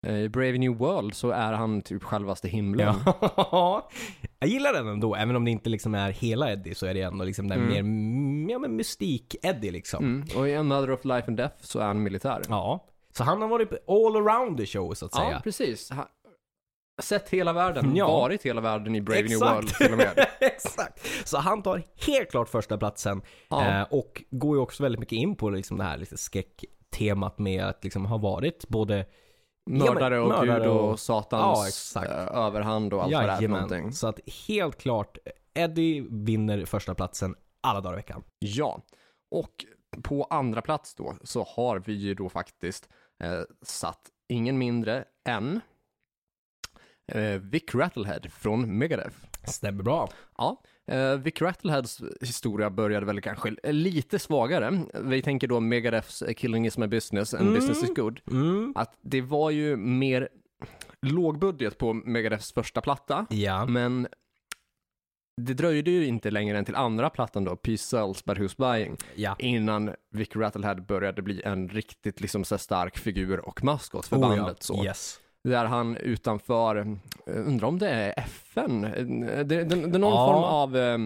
Eh, I Brave New World så är han typ självaste himlen.
Ja. (laughs) Jag gillar den ändå, även om det inte liksom är hela Eddie så är det ändå liksom den
Mm.
mer mm, ja, men mystik-Eddie liksom.
Mm. Och i Another of Life and Death så är han militär.
Ja. Så han har varit all around the show så att
Ja,
säga.
precis. Ha- Sett hela världen,
(laughs) Ja.
varit hela världen i Brave New
Exakt.
World till och
(laughs)
med.
Exakt! Så han tar helt klart första platsen
Ja.
eh, och går ju också väldigt mycket in på liksom det här liksom skräcktemat med att liksom ha varit både
Mördare och
mördare
gud och,
och- Ja,
satans
exakt.
eh, överhand och allt vad det är för
Jajamän.
någonting.
Så att helt klart, Eddie vinner första platsen alla dagar i veckan.
Ja, och på andra plats då så har vi ju då faktiskt eh, satt ingen mindre än eh, Vic Rattlehead från Megadeth.
Stämmer bra.
Ja, eh, Vic Rattleheads historia började väl kanske lite svagare. Vi tänker då Megadeths eh, Killing is my business and business is good.
Mm.
Att det var ju mer lågbudget på Megadeths första platta,
Ja.
men det dröjde ju inte längre än till andra plattan då, Peace Sells But Who's Buying,
ja.
innan Vic Rattlehead började bli en riktigt liksom så här stark figur och maskot för
Oh, ja.
bandet. Så.
Yes.
Där han utanför, eh, undrar om det är FN, eh, det, det, det är någon
Ja.
form av eh,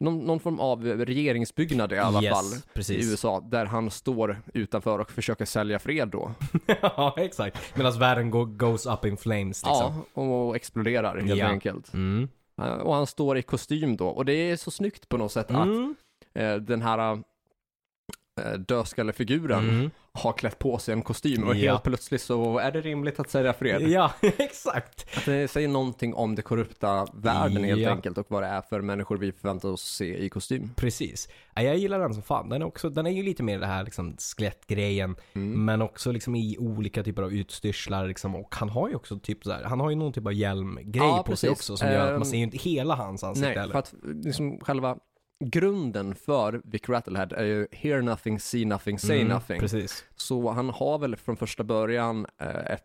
någon, någon form av regeringsbyggnad i alla
yes.
fall i
Precis.
USA, där han står utanför och försöker sälja fred då.
(laughs) ja, exakt. Medan världen go- goes up in flames liksom.
Ja, och exploderar helt
Ja.
enkelt.
Mm.
Eh, Och han står i kostym då, och det är så snyggt på något sätt att
Mm.
eh, den här eh, dödskallefiguren
Mm.
har klätt på sig en kostym och
Ja.
helt plötsligt så är det rimligt att sälja fred.
Ja, (laughs) exakt.
Att Det säger någonting om det korrupta världen helt
Ja.
enkelt och vad det är för människor vi förväntar oss se i kostym.
Precis. Ja, Jag gillar den som fan. Den är, också, den är ju lite mer det här liksom skelettgrejen,
Mm.
men också liksom i olika typer av utstyrslar liksom. Och han har ju också typ så här, han har ju någon typ av hjälmgrej
Ja,
på sig
precis.
också som gör att
Ehm,
man ser ju inte hela hans ansikte
Nej,
heller.
för att liksom själva grunden för Vic Rattlehead är ju hear nothing, see nothing, say
Mm,
nothing. (laughs)
Precis.
Så han har väl från första början eh, ett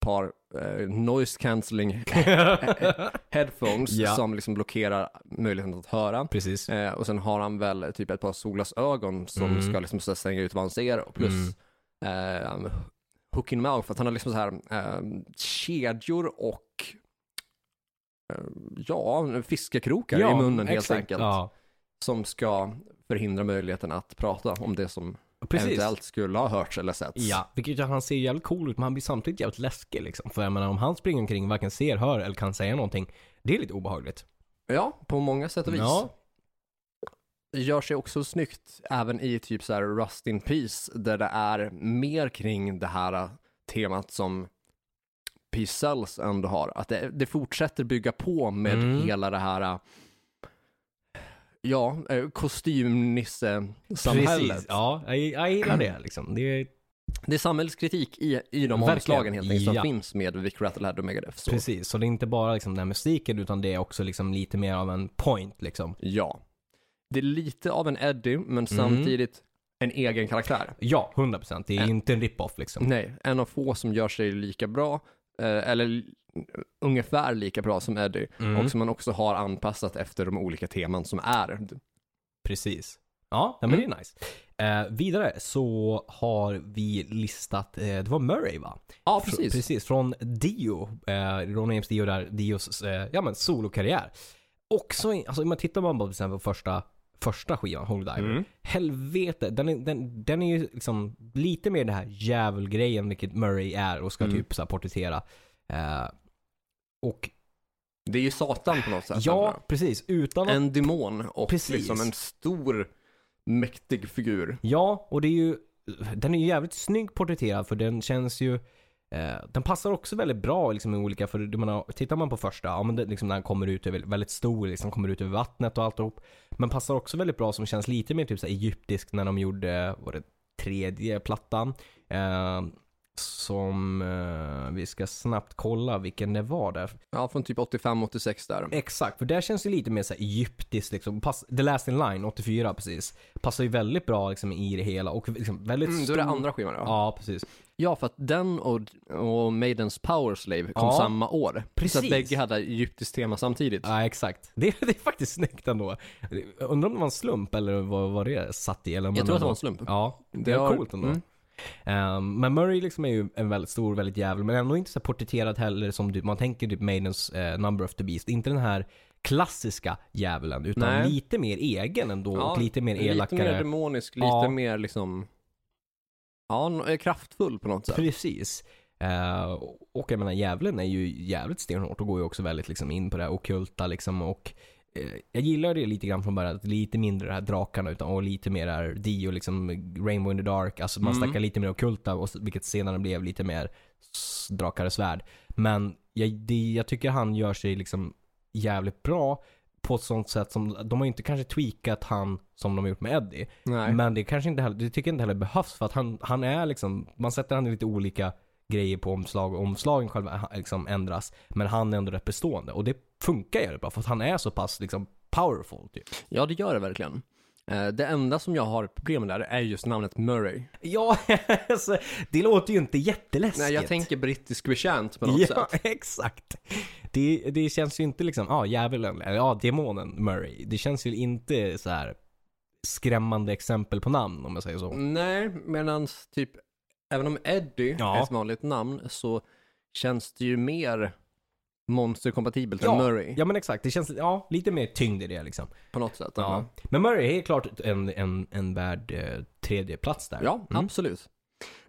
par eh, noise cancelling äh.
(laughs)
headphones
Ja.
som liksom blockerar möjligheten att höra.
precis.
Eh, och sen har han väl typ ett par solglasögon som
Mm.
ska liksom så här stänga ut vad han ser och plus eh, hook in mouth, att han har liksom så här eh, kedjor och eh, ja, fiskekrokar i munnen helt
exakt.
enkelt.
Ja,
Som ska förhindra möjligheten att prata om det som
precis.
eventuellt skulle ha hörts eller setts.
Ja, vilket gör att han ser jävligt cool ut men han blir samtidigt jävligt läskig liksom. För jag menar om han springer omkring och varken ser, hör eller kan säga någonting, det är lite obehagligt.
Ja, på många sätt och vis.
Ja.
Gör sig också snyggt även i typ så här Rust in Peace där det är mer kring det här eh, temat som Peace Cells ändå har. Att det, det fortsätter bygga på med
Mm.
hela det här eh, ja, eh, kostymnisse-samhället.
Precis. Ja, jag, jag gillar det liksom. Det är
Det är samhällskritik i, i de
Verkligen.
omslagen helt enkelt
Ja.
som finns med Vic Rattlehead och Megadeth. Så,
Precis, så det är inte bara liksom den här musiken utan det är också liksom lite mer av en point liksom.
ja. Det är lite av en Eddie
Mm.
men samtidigt en egen karaktär.
Ja, 100%. Det är
Ä-
inte en rip-off liksom.
Nej, en av få som gör sig lika bra, eh, eller l- ungefär lika bra som Eddie,
Mm.
och som man också har anpassat efter de olika teman som är.
Precis. Ja, nej, men
Mm.
det är nice. Eh, vidare så har vi listat, eh, det var Murray va?
Ja,
Fr-
precis.
precis, från Dio. Eh, Ron James Dio där, Dios eh, ja, men solokarriär. Också, in- alltså om man tittar bara på till exempel första, första skivan, Hold Diver.
Mm.
Helvete, den är, den, den är ju liksom lite mer den här djävulgrejen vilket Murray är och ska
Mm.
typ så här porträttera. Eh, och
Det är ju Satan på något sätt.
ja,
ändå.
precis. Utan att
En demon och
Precis.
liksom en stor mäktig figur.
Ja, och det är ju, den är ju jävligt snygg porträtterad för den känns ju eh, den passar också väldigt bra liksom, i olika, för du menar, tittar man på första, ja men det, liksom, när han kommer ut, är väldigt, väldigt stor, liksom, kommer ut över vattnet och alltihop. Men passar också väldigt bra som känns lite mer typ så här, egyptisk när de gjorde, var det tredje plattan? Eh, som, eh, vi ska snabbt kolla vilken det var där.
Ja, från typ 85-86 där. Mm,
Exakt, för där känns det lite mer så här egyptiskt liksom. Pass, The Last In Line, 84 precis. Passar ju väldigt bra liksom i det hela och liksom väldigt
Mm, då
stor.
är det andra skivan ja.
Ja, precis.
Ja, för att den och, och Maidens Power Slave kom
Ja.
samma år. Så
Precis.
att bägge hade egyptiskt tema samtidigt.
Ja, exakt. Det, det är (laughs) faktiskt snyggt ändå. Undrar om det var en slump eller vad, vad det satt i? Eller om
Jag tror att det var en slump.
Ja, det,
Det
är
har-
coolt ändå.
mm.
Ehm, men Murray liksom är ju en väldigt stor, väldigt jävel, men ändå inte så här porträtterad heller som du, man tänker typ Maidens eh, Number of the Beast. Inte den här klassiska djävulen, utan
Nej.
lite mer egen ändå
Ja,
och lite mer elakare.
Lite mer demonisk, lite
Ja.
mer liksom, ja, n- är kraftfull på något sätt.
Precis. Eh, och jag menar djävulen är ju jävligt stenhårt och går ju också väldigt liksom in på det här ockulta liksom och eh, jag gillar det lite grann från början, att lite mindre det här drakarna utan, och lite mer det här Dio, liksom Rainbow in the Dark, alltså man
Mm.
snackar lite mer ockulta och s- vilket senare blev lite mer s- drakar och svärd. Men jag, det, jag tycker han gör sig liksom jävligt bra på ett sånt sätt som, de har ju inte kanske tweakat han som de har gjort med Eddie.
Nej.
Men det kanske inte heller, det tycker jag inte heller behövs för att han, han är liksom, man sätter han i lite olika grejer på omslag och omslagen själva ha- liksom ändras. Men han är ändå rätt bestående och det funkar jävligt bra för att han är så pass liksom powerful typ.
Ja, det gör det verkligen. Eh, Det enda som jag har problem med där är just namnet Murray.
Ja, (laughs) alltså, det låter ju inte jätteläskigt.
Nej, jag tänker brittisk betjänt på något
Ja,
sätt.
(laughs) exakt. Det, det känns ju inte liksom, ja ah, djävulen, eller ja ah, demonen Murray. Det känns ju inte så här skrämmande exempel på namn om jag säger så.
Nej, medan typ, även om Eddie
Ja.
är ett vanligt namn så känns det ju mer monsterkompatibelt
Ja,
än Murray
Ja men exakt, det känns ja, lite mer tyngd i det liksom.
på något sätt.
Ja. Men Murray är helt klart en, en, en värd eh, tredje plats där.
Ja, absolut.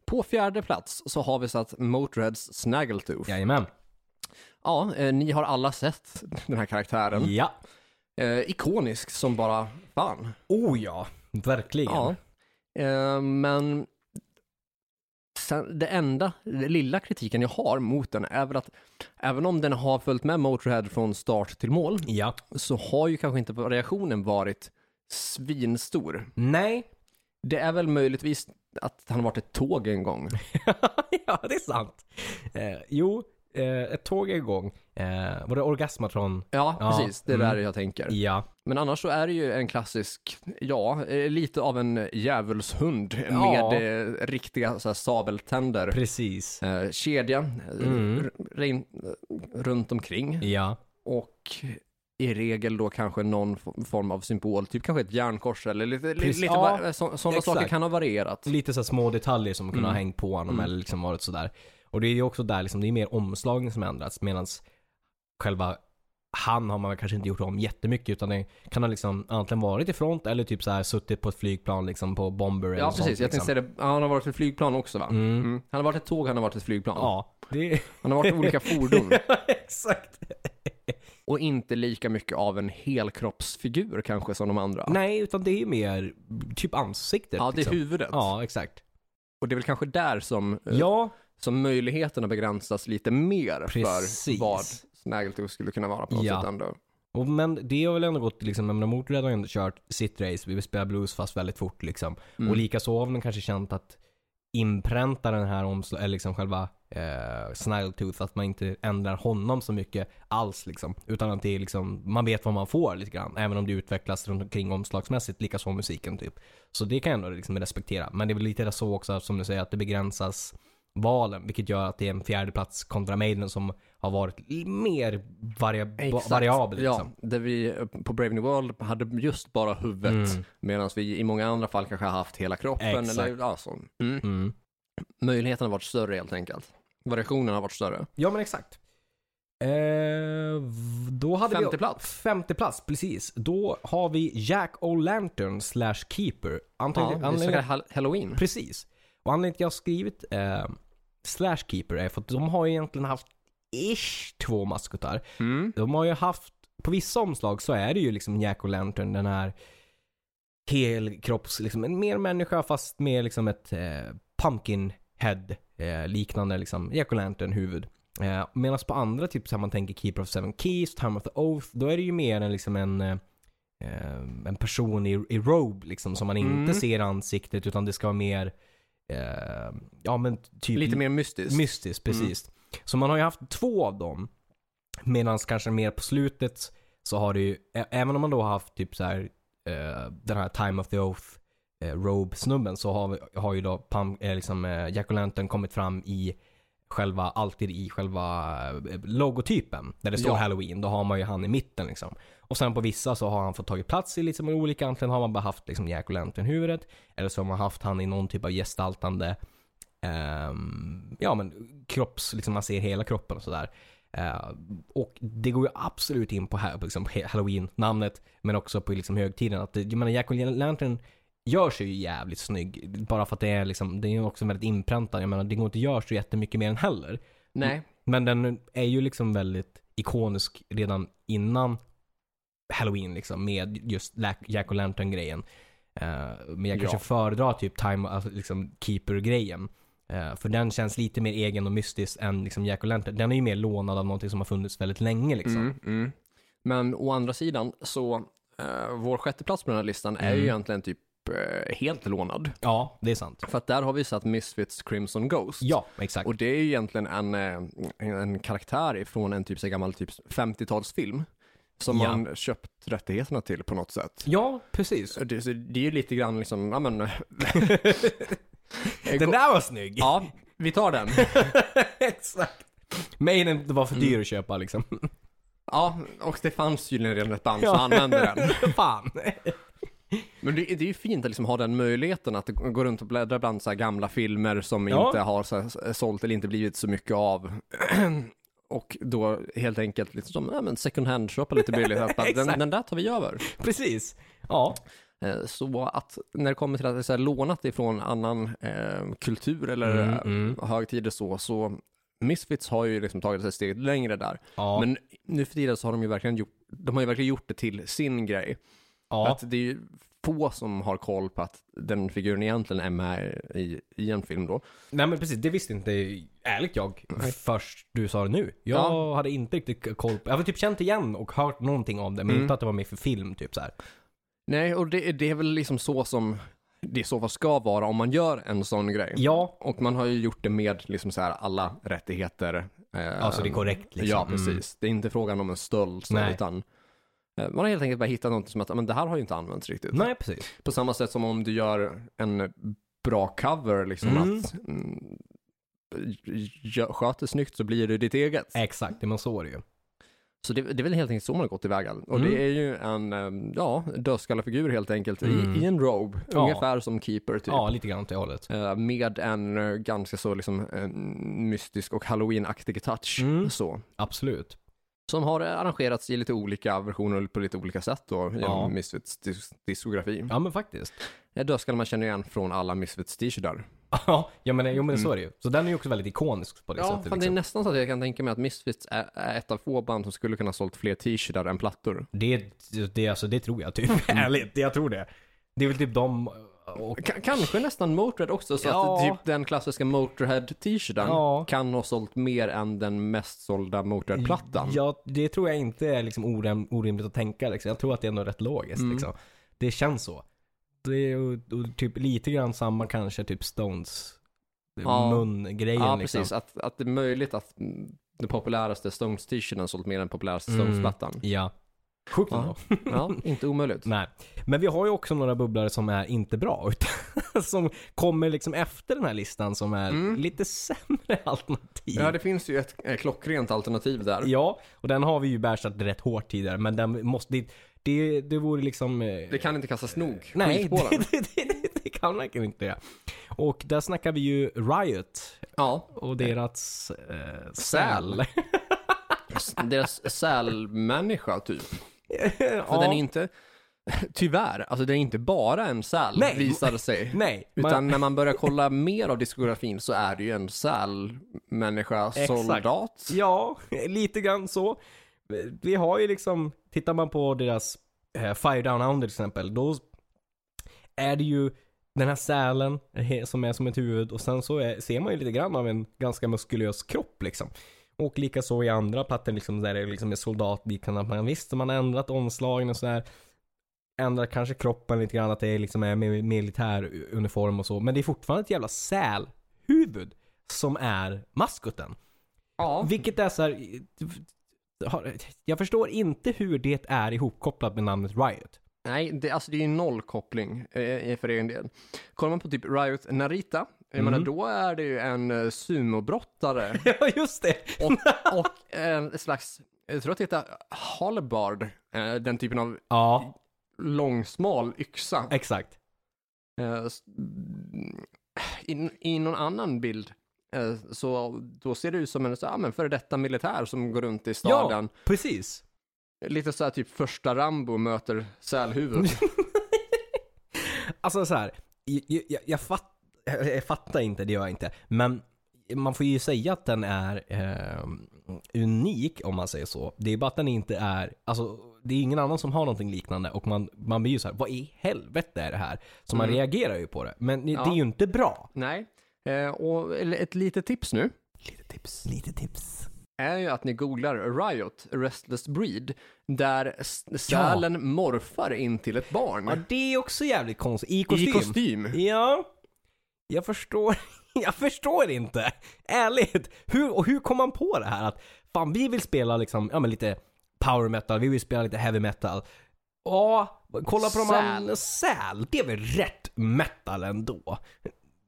På fjärde plats så har vi satt Motörheads Snaggletooth. Ja,
Jajamän.
eh, ni har alla sett den här karaktären.
Ja.
Eh, ikonisk som bara fan.
Oh ja, verkligen.
Ja. Eh, men sen, det enda det lilla kritiken jag har mot den är väl att även om den har följt med Motörhead från start till mål
Ja.
så har ju kanske inte reaktionen varit svinstor.
Nej. (laughs)
Det är väl möjligtvis att han har varit ett tåg en gång.
ja, det är sant. Eh, jo, eh, ett tåg är igång. Eh, var det Orgasmatron?
Ja,
Ja,
precis. Det är där jag tänker.
Ja.
Men annars så är det ju en klassisk, ja, eh, lite av en djävulshund
Ja.
med eh, riktiga så här, sabeltänder.
Precis.
Eh, kedja eh,
Mm.
r- rein- eh, runt omkring
Ja.
och i regel då kanske någon f- form av symbol, typ kanske ett järnkors eller lite, li-
Precis,
lite
ja.
va- så, sådana
Exakt.
saker kan ha varierat.
Lite så här små detaljer som kunde ha
Mm.
hängt på honom
Mm.
eller liksom varit sådär. Och det är ju också där liksom, det är mer omslagen som ändrats medan själva han har man väl kanske inte gjort om jättemycket utan det kan ha liksom antingen varit i front eller typ så här suttit på ett flygplan liksom på bomber eller
Ja, precis.
sånt,
Jag
liksom.
tänkte säga det, han har varit ett flygplan också va?
Mm.
Mm. Han har varit ett tåg, han har varit ett flygplan.
Ja, (laughs) det...
Han har varit olika fordon
exakt.
och inte lika mycket av en helkroppsfigur kanske som de andra.
Nej, utan det är mer typ ansiktet.
Ja, det är
liksom.
huvudet.
Ja, exakt.
Och det är väl kanske där som, eh,
Ja,
som möjligheterna begränsas lite mer
Precis.
för vad Snaggletooth skulle kunna vara på något
Ja.
sätt ändå.
Och, men det har väl ändå gått liksom, jag menar Motörhead har ju ändå kört sitt race, vi vill spela blues fast väldigt fort liksom.
Mm.
Och likaså har de kanske känt att inpränta den här omsl- eller liksom själva eh, Snaggletooth, att man inte ändrar honom så mycket alls liksom. Utan att det är liksom, man vet vad man får lite grann. Även om det utvecklas runt omkring omslagsmässigt, likaså musiken typ. Så det kan jag ändå liksom respektera. Men det är väl lite så också som du säger, att det begränsas valen, vilket gör att det är en fjärde plats kontra Maiden som har varit l- mer varia-
Exakt.
variabel. Liksom.
Ja, där vi eh, på Brave New World hade just bara huvudet, medan vi i många andra fall kanske har haft hela kroppen.
Mm. Exakt.
Eller, ja, så. Mm.
Mm.
Möjligheten har varit större helt enkelt. Variationen har varit större.
Ja men exakt. Eh, v- då hade vi...
Femte plats.
Femte plats, precis. Då har vi Jack O'Lantern slash Keeper.
Ja,
Antagligen,
vi
anledningen-
snackar hall- Halloween.
precis. Och anledningen till att jag har skrivit eh, slash Keeper är för att de har ju egentligen haft ish två maskotar.
Mm.
De har ju haft, på vissa omslag så är det ju liksom Jack O'Lantern, den här helkropps, liksom en mer människa fast med liksom ett eh, pumpkin head eh, liknande liksom jack lantern huvud. Eh, Medan på andra, typ så här man tänker Keeper of Seven Keys, Time of the Oath, då är det ju mer en, liksom en, eh, eh, en person i, i robe liksom som man inte
Mm.
ser ansiktet utan det ska vara mer, eh, ja men typ
Lite mer mystiskt.
Mystiskt, precis. Så man har ju haft två av dem. Medan kanske mer på slutet så har det ju, ä- även om man då har haft typ så här, eh, den här Time of the Oath eh, Robe-snubben så har, vi- har ju då Pam, eh, liksom, eh, Jack O'Lantern kommit fram i själva, alltid i själva eh, logotypen. Där det står
Ja.
Halloween, då har man ju han i mitten liksom. Och sen på vissa så har han fått tagit plats i liksom olika, antingen har man bara haft liksom Jack O'Lantern-huvudet eller så har man haft han i någon typ av gestaltande Ehm, ja men kropps, liksom man ser hela kroppen och sådär. Eh, och det går ju absolut in på, ha- på liksom he- halloween-namnet, men också på liksom högtiden. Att det, jag menar, Jack och Lantern gör sig ju jävligt snygg. Bara för att det är liksom, det är ju också väldigt inpräntat. Jag menar, det går inte att göra så jättemycket mer än heller.
Nej.
Men den är ju liksom väldigt ikonisk redan innan halloween liksom med just Lack- Jack och Lantern-grejen. Eh, men jag kanske
Ja. föredrar
föredrar typ Time, alltså liksom Keeper-grejen. Eh, för den känns lite mer egen och mystisk än liksom Jack och Lantern. Den är ju mer lånad av någonting som har funnits väldigt länge liksom.
Mm, mm. Men å andra sidan så, eh, vår sjätte plats på den här listan är ju
Mm.
egentligen typ eh, helt lånad.
Ja, det är sant.
För att där har vi satt Misfits Crimson Ghost.
Ja, exakt.
Och det är ju egentligen en, eh, en karaktär ifrån en typ så gammal typ 50-talsfilm. Som
Ja.
man köpt rättigheterna till på något sätt.
ja, precis.
Det, så det är ju lite grann liksom, ja (laughs) men...
Den där var snygg!
Ja, vi tar den.
(laughs) exakt. Maiden var för dyr att
(laughs)
köpa liksom.
Ja, och det fanns tydligen redan ett band
Ja.
som använde den.
Fan.
Men det, det är ju fint att liksom ha den möjligheten att gå runt och bläddra bland så här gamla filmer som
Ja.
inte har så här eh, sålt eller inte blivit så mycket av. (clears throat) Och då helt enkelt liksom, ja, men second hand, köpa lite
(laughs)
billigt. Att bara, den,
Exakt.
den där tar vi över.
precis. Ja.
Eh, Så att när det kommer till att det är så här lånat ifrån annan eh, kultur eller
Mm,
eh,
mm.
högtider så, så Misfits har ju liksom tagit sig steget längre där.
Ja.
Men nu för tiden så har de ju verkligen gjort, de har ju verkligen gjort det till sin grej.
ja.
Att det är ju få som har koll på att den figuren egentligen är med i, i en film då.
Nej men precis, det visste inte ärligt jag först du sa det nu. Jag
Ja.
hade inte riktigt k- koll på, jag hade typ känt igen och hört någonting om det men
Mm.
inte att det var med för film typ så här.
Nej, och det, det är väl liksom så som det i så fall ska vara om man gör en sån grej.
Ja,
Och man har ju gjort det med liksom så här alla rättigheter. eh,
alltså det är korrekt liksom.
Ja, precis. Det är inte frågan om en stöld så,
Nej.
utan eh, man har helt enkelt bara hittat något som att men det här har ju inte använts riktigt.
Mm. Nej precis.
På samma sätt som om du gör en bra cover, liksom
Mm.
att mm, gö- sköter snyggt så blir det ditt eget.
Exakt, det man så är det ju.
Typ. Så det, det är väl helt enkelt så man har gått tillväga. Och
Mm.
det är ju en eh, ja, dödskallefigur helt enkelt
Mm.
i, i en robe,
Ja.
ungefär som Keeper typ.
Ja, lite grann åt det hållet.
Eh, Med en eh, ganska så liksom eh, mystisk och halloween-aktig touch.
Mm.
Så.
Absolut.
Som har eh, arrangerats i lite olika versioner på lite olika sätt då, genom
Ja.
Misfits dis- diskografi.
Ja men faktiskt. (laughs)
Ja. Dödskallen man känner igen från alla Misfits t-shirtar.
Ja, jag menar, jo men så är det ju. Så den är ju också väldigt ikonisk på det
Mm. Ja,
sättet.
fan, det är
liksom.
nästan så att jag kan tänka mig att Misfits är, är ett av få band som skulle kunna ha sålt fler t-shirtar än plattor.
det, det, alltså, det tror jag typ.
Mm.
(laughs) Ärligt, jag tror det. Det är väl typ de och
K- kanske nästan Motörhead också, så
Ja.
att typ den klassiska Motörhead-t-shirten
Ja.
kan ha sålt mer än den mest sålda Motörhead-plattan.
Ja, det tror jag inte är liksom orim, orimligt att tänka. Liksom. Jag tror att det är ändå rätt logiskt.
Mm.
Liksom. Det känns så. Det är ju och typ lite grann samma kanske, typ Stones
Ja.
mun-grejen.
Ja,
liksom.
precis. Att, att det är möjligt att mm, den populäraste Stones-t-shirten sålt mer än den populäraste
Mm.
Stones-plattan.
Ja. Sjukt
Ja.
ändå.
(laughs) Ja, inte omöjligt.
Nej. Men vi har ju också några bubblare som är inte bra. (laughs) Utan som kommer liksom efter den här listan som är
Mm.
lite sämre (laughs) alternativ.
Ja, det finns ju ett eh, klockrent alternativ där.
Ja, och den har vi ju bärsat rätt hårt tidigare. Men den måste... Det, det, det vore liksom... eh,
Det kan inte kastas nog.
Nej,
skit på den.
det, (laughs) det, det, det kan man verkligen inte göra. Och där snackar vi ju Riot
Ja,
och deras eh, säl.
s- deras sälmänniska typ. (laughs) För
ja.
den är inte, (laughs) tyvärr, alltså den är inte bara en säl
Nej.
visar det sig.
Nej,
Utan
man,
när man börjar kolla mer av diskografin så är det ju en sälmänniska,
(laughs) Exakt.
soldat.
ja, (laughs) lite grann så. Vi har ju liksom, tittar man på deras eh, Fire Down Under till exempel, då är det ju den här sälen he- som är som ett huvud och sen så är, ser man ju lite grann av en ganska muskulös kropp liksom. Och likaså i andra plattor liksom där det liksom är soldatliknande. att Man, visst, man har ändrat omslagen och sådär. Ändrat kanske kroppen lite grann att det liksom är mi- militär uniform och så. Men det är fortfarande ett jävla sälhuvud som är maskoten.
Ja.
Vilket är så här, har- Jag förstår inte hur det är ihopkopplat med namnet Riot.
Nej, det, alltså det är ju noll koppling eh, för egen del. Kollar man på typ Riot Narita, jag
Mhm.
menar då är det ju en eh,
(laughs)
sumobrottare
(laughs) Ja, just det!
och, och en slags, jag tror att det heter halbard, eh, den typen av
Ja,
långsmal yxa.
exakt.
Eh, s- mm, I, I någon annan bild eh, så då ser det ut som en så, ja, men före detta militär som går runt i staden.
Ja, precis.
Lite så här typ första Rambo möter
(laughs)
sälhuvud.
Alltså så här, jag, jag, jag, fatt, jag fattar inte, det gör jag inte. Men man får ju säga att den är ehm, unik om man säger så. Det är bara att den inte är, alltså det är ingen annan som har någonting liknande och man, man blir ju så här, vad i helvete är det här? Så man
Mm.
reagerar ju på det. Men det, det
Ja.
är ju inte bra.
Nej, eh, och eller ett litet tips nu.
Lite tips. Lite tips.
är ju att ni googlar Riot, Restless Breed, där s- sälen morfar in till ett barn.
Ja, det är också jävligt konstigt. I kostym.
I kostym.
Ja, jag förstår. (laughs) Jag förstår inte. Ärligt. Hur, och hur kom man på det här? Att fan, vi vill spela liksom, ja men lite power metal, vi vill spela lite heavy metal. Ja, kolla på de andra.
Säl.
Säl. Det är väl rätt metal ändå?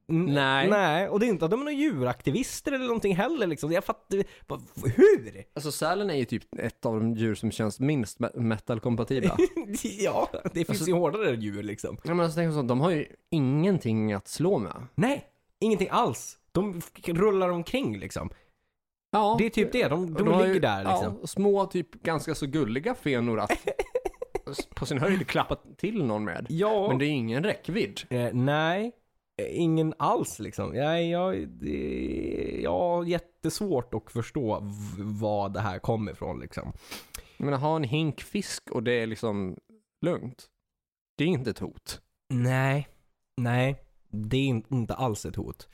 N-
Nej.
Nej, och det är inte att de är några djuraktivister eller någonting heller liksom. Jag fattar vad- Hur? (laughs)
Alltså sälen är ju typ ett av de djur som känns minst me-
(laughs)
metal-kompatibla.
ja, det finns
Alltså-
ju hårdare djur liksom.
ja, men alltså, tänk så, de har ju ingenting att slå med.
Nej, ingenting alls. De f- rullar omkring liksom.
Ja,
Det är typ det, de, de, ligger där liksom.
Ja, små, typ ganska så gulliga fenor att
(laughs)
s- på sin höjd klappa till någon med.
Ja.
Men det är ju ingen räckvidd.
Eh, nej, Eh, ingen alls liksom. Nej, jag, det, jag har jättesvårt att förstå v- vad det här kommer ifrån liksom.
Jag menar, ha en hink fisk och det är liksom lugnt. Det är inte ett hot.
Nej, nej. Det är in- inte alls ett hot.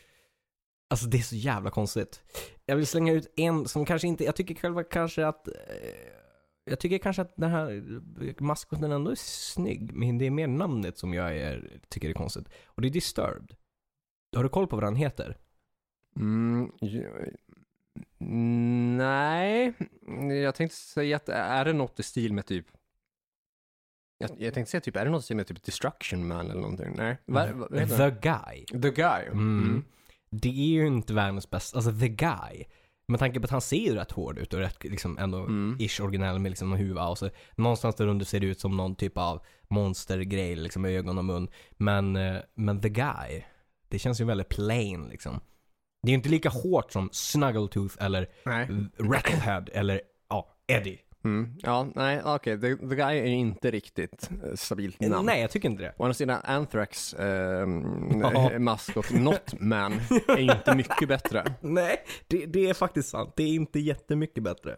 Alltså det är så jävla konstigt. Jag vill slänga ut en som kanske inte, jag tycker själva kanske att eh, jag tycker kanske att den här maskoten ändå är snygg, men det är mer namnet som jag är, tycker är konstigt. Och det är Disturbed. Har du koll på vad den heter?
Mm, ju- nej, jag tänkte säga att är det något i stil med typ jag, jag tänkte säga typ, är det något i stil med typ Destruction Man eller någonting? Nej, vad, vad heter
The Guy.
den? The Guy.
Mm. Det är ju inte världens bästa, alltså The Guy. Med tanke på att han ser ju rätt hård ut och rätt liksom ändå
Mm.
ish originell med liksom en huva och så någonstans där under ser det ut som någon typ av monstergrej liksom med ögon och mun. Men, eh, men The Guy, det känns ju väldigt plain liksom. Det är ju inte lika hårt som Snuggletooth eller
Nej.
Rattlehead eller ja, Eddie.
Mm. Ja, nej, okej, the, the Guy är ju inte riktigt eh, stabilt namn.
Nej, jag tycker inte det.
Å andra sidan, Anthrax eh,
Ja.
maskot Not Man är ju inte mycket
(laughs)
bättre.
Nej, det, det är faktiskt sant. Det är inte jättemycket bättre.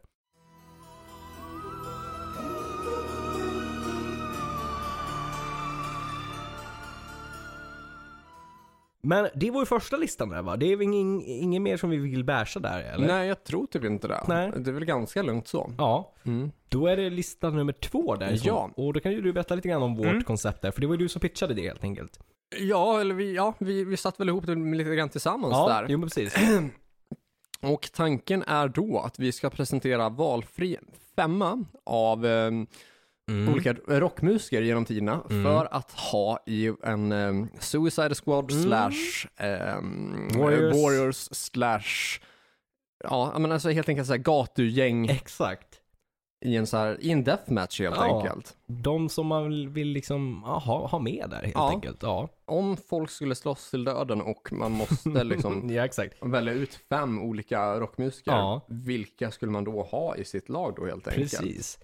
Men det var ju första listan där va? Det är väl ingen, ingen mer som vi vill basha där eller?
Nej, jag tror typ inte det.
Nej.
Det är väl ganska lugnt så.
Ja,
Mm.
då är det lista nummer två där. som-
Ja.
Och då kan ju du berätta lite grann om vårt
Mm.
koncept där, för det var ju du som pitchade det helt enkelt.
Ja, eller vi, ja, vi, vi satt väl ihop det lite grann tillsammans där.
jo men precis.
Och tanken är då att vi ska presentera valfri femma av eh,
Mm.
olika rockmusiker genom tiderna
Mm.
för att ha i en eh, Suicide Squad
Mm.
slash ehm,
Warriors.
Warriors slash Ja, men alltså helt enkelt så här gatugäng
Exakt.
i en, så här, i en deathmatch helt
Ja.
enkelt.
De som man vill liksom ja, ha, ha med där helt
Ja.
enkelt. Ja.
Om folk skulle slåss till döden och man (laughs) måste liksom
Mm, ja, exakt.
välja ut fem olika rockmusiker,
Ja.
vilka skulle man då ha i sitt lag då helt enkelt?
Precis.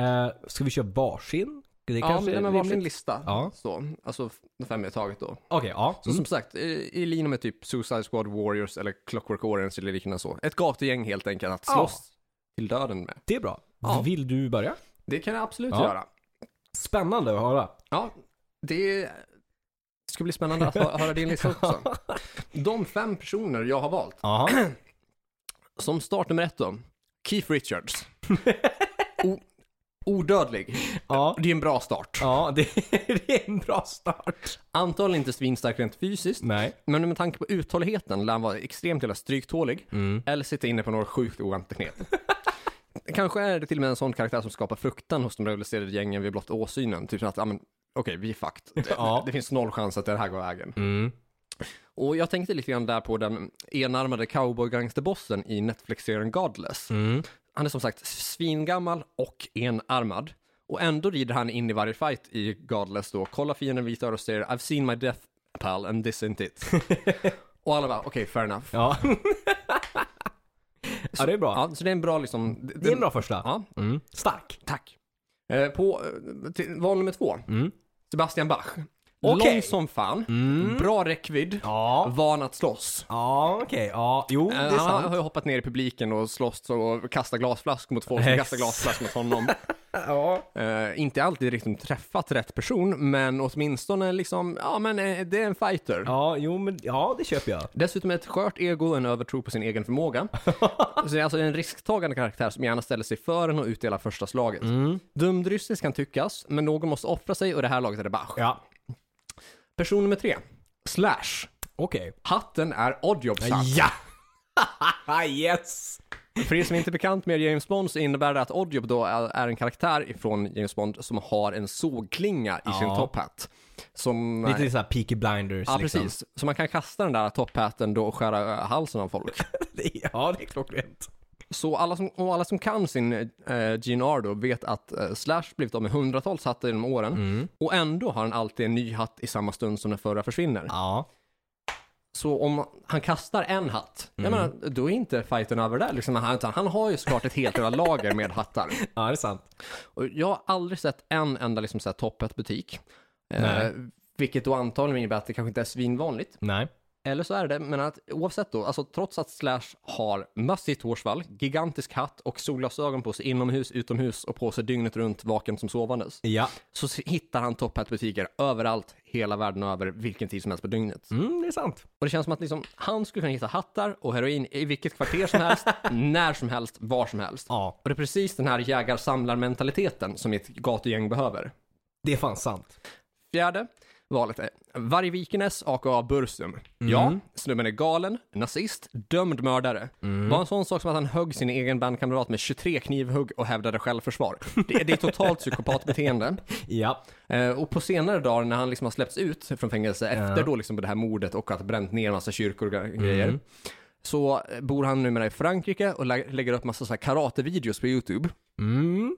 Eh, ska vi köra varsin? Det
Ja,
kanske
men
är
men varsin
rimligt.
lista.
Ja. Mm.
Så, alltså f- fem i taget då.
Okej, ja.
Så som sagt, i, i linje med typ Suicide Squad, Warriors eller Clockwork Orange eller liknande så. Ett gatugäng helt enkelt att
Ja.
slåss till döden med.
Det är bra.
Ja.
Vill du börja?
Det kan jag absolut
Ja.
göra.
Spännande att höra.
Ja, det Det ska bli spännande att hö- höra din lista
(laughs)
också. De fem personer jag har valt,
Aha.
som start nummer ett då, Keith
(laughs)
Richards. O- odödlig.
(clears throat) Ja.
Det är en bra start.
Ja, det, det är en bra start.
Antagligen inte svinstark rent fysiskt,
Nej.
men med tanke på uthålligheten lär han vara extremt jävla stryktålig, eller sitta inne på några sjukt oväntade knep. Kanske är det till och med en sån karaktär som skapar fruktan hos de rivaliserade gängen vid blott åsynen. Typ som att, ja men okej, vi är fucked. Det,
Ja.
det finns noll chans att det här går vägen. Och jag tänkte lite grann där på den enarmade cowboygangsterbossen i Netflix-serien Godless. Han är som sagt svingammal och enarmad. Och ändå rider han in i varje fight i Godless då, kollar fienden vita och säger I've seen my death pal and this ain't (laughs) it. och alla bara okej, fair enough.
Ja. ja, det är bra.
Ja, så det är en bra liksom... Det,
Det är en bra första.
Ja,
Mm. Stark.
tack. Eh, på eh, till, val nummer två, Sebastian Bach. Mm.
Okej.
Mm. Lång som fan, bra räckvidd,
Ja.
van att slåss.
Ja, okej. Ja, jo, det
Eh,
är
Han
sant.
har ju hoppat ner i publiken och slåss och kastat glasflaskor mot folk som kastar glasflaskor mot
(laughs)
honom.
Ja.
Eh, inte alltid riktigt träffat rätt person, men åtminstone liksom, ja men eh, det är en fighter.
ja, jo, men ja, det köper jag.
Dessutom ett skört ego och en övertro på sin egen
(laughs)
förmåga. Så det är alltså en risktagande karaktär som gärna ställer sig för en och utdelar första slaget.
Mm.
Dumdristisk kan tyckas, men någon måste offra sig och det här laget är det Bach.
Ja,
Person nummer tre, Slash.
okej.
Hatten är Oddjobs hatt.
Ja! (laughs) yes!
För er som inte är bekant med James Bond så innebär det att Oddjob då är är en karaktär ifrån James Bond som har en sågklinga i sin
Ja.
topphatt. Som...
Lite såhär Peaky Blinders
Ja,
liksom.
precis. Så man kan kasta den där topphatten då och skära eh, halsen av folk.
Ja, det är klockrent.
Så alla som, och alla som kan sin eh, GNR då vet att eh, Slash blivit av med hundratals hattar genom åren
Mm.
och ändå har han alltid en ny hatt i samma stund som den förra försvinner.
Ja.
Så om han kastar en hatt,
Mm.
jag menar, då är inte fighten över där. Liksom, han, utan han har ju såklart ett helt jävla lager med hattar.
ja, det är sant.
Och jag har aldrig sett en enda liksom, så här toppet butik. Eh,
Nej.
vilket då antagligen innebär att det kanske inte är svinvanligt.
Nej.
Eller så är det, men att oavsett då, alltså trots att Slash har massivt hårsvall, gigantisk hatt och solglasögon på sig inomhus, utomhus och på sig dygnet runt vaken som sovandes,
Ja.
så s- hittar han top hat-butiker överallt, hela världen över, vilken tid som helst på dygnet.
Mm, det är sant.
Och det känns som att liksom, han skulle kunna hitta hattar och heroin i vilket kvarter som
(laughs)
helst, när som helst, var som helst.
Ja.
Och det är precis den här jägar-samlar-mentaliteten som ett gatugäng behöver.
Det är fan sant.
Fjärde valet är Vargvikenes aka Bursum. Ja, snubben är galen, nazist, dömd mördare. Var en sån sak som att han högg sin egen bandkamrat med 23 knivhugg och hävdade självförsvar. Det, det är totalt psykopatbeteende.
Ja.
Eh, och på senare dagar när han liksom har släppts ut från fängelse efter då liksom det här mordet och att ha bränt ner massa kyrkor och
Mm.
gre- grejer. Så eh, bor han numera i Frankrike och lä- lägger upp massa så här karatevideos på YouTube.
Mm.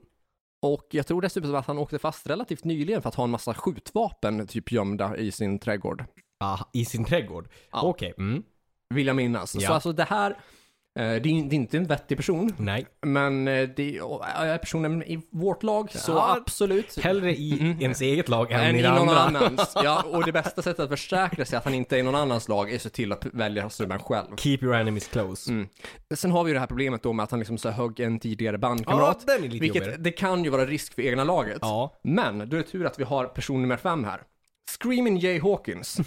Och jag tror dessutom att han åkte fast relativt nyligen för att ha en massa skjutvapen typ gömda i sin trädgård.
Aha, I sin trädgård?
Ja.
Okej. Mm.
Vill jag minnas.
Ja.
Så alltså det här, eh, det är, det är inte en vettig person,
Nej.
men eh, det och är personen i vårt lag, så
Ja,
absolut.
Hellre i ens eget lag än,
Än
i
i
det
någon
andra. (laughs)
annans. Ja, och det bästa sättet att försäkra sig att han inte är i någon annans lag är att se till att välja snubben själv.
Keep your enemies close.
Sen har vi ju det här problemet då med att han liksom så här högg en tidigare bandkamrat.
Ja, den är lite jobbigare.
vilket, det kan ju vara risk för egna laget.
Ja.
Men då är det tur att vi har person nummer fem här. Screaming Jay
(laughs)
Hawkins.